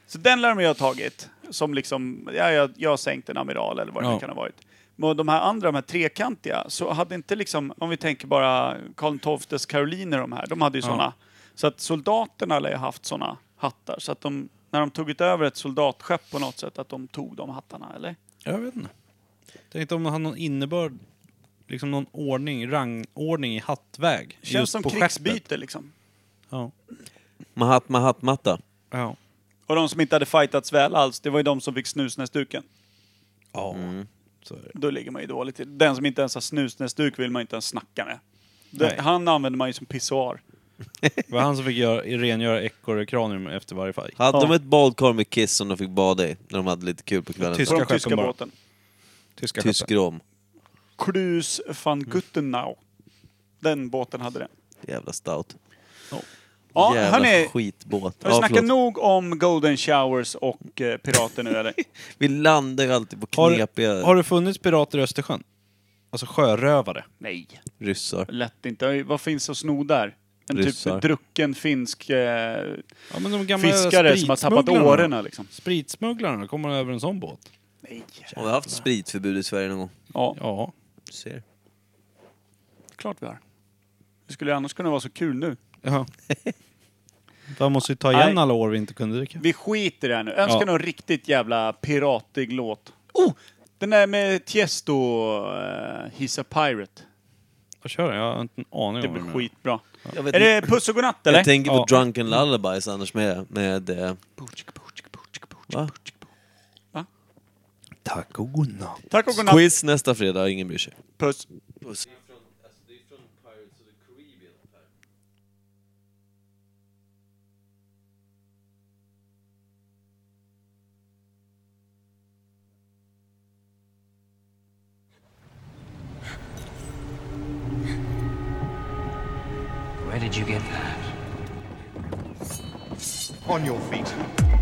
Speaker 4: så den lär de ju ha tagit. Som liksom, ja, jag, jag har sänkt en amiral eller vad det
Speaker 5: Ja.
Speaker 4: nu kan ha varit. Men de här andra, de här trekantiga, så hade inte liksom, om vi tänker bara Karl XIIs karoliner de här, de hade ju såna. sådana. Så att soldaterna lär ju ha haft sådana hattar. Så att de, när de tog över ett soldatskepp på något sätt, att de tog de hattarna, eller?
Speaker 5: Jag vet inte. Tänkte om de hade någon innebörd, liksom någon ordning, rangordning i hattväg.
Speaker 4: Känns
Speaker 5: just
Speaker 4: som
Speaker 5: på
Speaker 4: krigsbyte
Speaker 5: skeppet.
Speaker 4: liksom.
Speaker 5: Ja.
Speaker 8: Mahat Mahat Matta.
Speaker 5: Ja.
Speaker 4: Och de som inte hade fightats väl alls, det var ju de som fick snusnäsduken.
Speaker 5: ja.
Speaker 4: Mm.
Speaker 5: Så är det.
Speaker 4: Då ligger man ju dåligt till. Den som inte ens har snusnäsduk vill man inte ens snacka med.
Speaker 5: Nej.
Speaker 4: Det, han använder man ju som pissoar.
Speaker 5: Det var han som fick göra, rengöra ekorrekranium efter varje fight.
Speaker 8: Hade
Speaker 4: Ja.
Speaker 8: de ett badkar med Kiss som de fick bada i när de hade lite kul på kvällen?
Speaker 5: Tyska
Speaker 4: På den
Speaker 5: skeppen
Speaker 4: tyska
Speaker 5: bara.
Speaker 4: båten.
Speaker 5: Tyska
Speaker 8: Tysk rom.
Speaker 4: Klus van Guttenau. Den båten hade den.
Speaker 8: Jävla stout.
Speaker 4: Ja,
Speaker 8: Jävla
Speaker 4: hörni.
Speaker 8: skitbåt.
Speaker 4: Har vi snackat
Speaker 8: förlåt.
Speaker 4: nog om Golden Showers och eh, pirater nu eller?
Speaker 8: Vi landar ju alltid på
Speaker 5: Har-
Speaker 8: knepiga
Speaker 5: Har det funnits pirater i Östersjön? Alltså sjörövare?
Speaker 4: Nej.
Speaker 8: ryssar.
Speaker 4: Lätt inte. Oj, Vad finns att sno där? En
Speaker 8: Ryssar.
Speaker 4: typ drucken finsk eh,
Speaker 5: Ja, men de gamla
Speaker 4: fiskare som har tappat
Speaker 5: spritsmugglarna.
Speaker 4: årorna liksom.
Speaker 5: Spritsmugglarna, kommer över en sån båt?
Speaker 4: Nej.
Speaker 8: Har vi haft spritförbud i Sverige någon gång?
Speaker 4: Ja,
Speaker 5: Ja.
Speaker 8: Ser.
Speaker 4: klart vi har. Det skulle annars kunna vara så kul nu.
Speaker 5: ja. Man måste ju ta igen
Speaker 4: Nej.
Speaker 5: alla år vi inte kunde dricka.
Speaker 4: Vi skiter i det här nu. Önskar
Speaker 5: Ja.
Speaker 4: någon riktigt jävla piratig låt. Oh! Den där med Tiesto, uh, He's a Pirate.
Speaker 5: Jag kör den, jag har inte en aning
Speaker 4: Det
Speaker 5: om
Speaker 4: blir
Speaker 5: den är.
Speaker 4: skitbra.
Speaker 8: Jag, vet,
Speaker 4: Är det Puss och Godnatt eller?
Speaker 8: jag tänker på
Speaker 5: Ja.
Speaker 8: Drunken Lullabies annars med... med eh, va?
Speaker 5: Tack och godnatt.
Speaker 4: Tack och godnatt.
Speaker 8: Quiz nästa fredag, ingen bryr sig.
Speaker 4: Puss.
Speaker 8: Puss.
Speaker 9: Where did you get that?
Speaker 10: On your feet.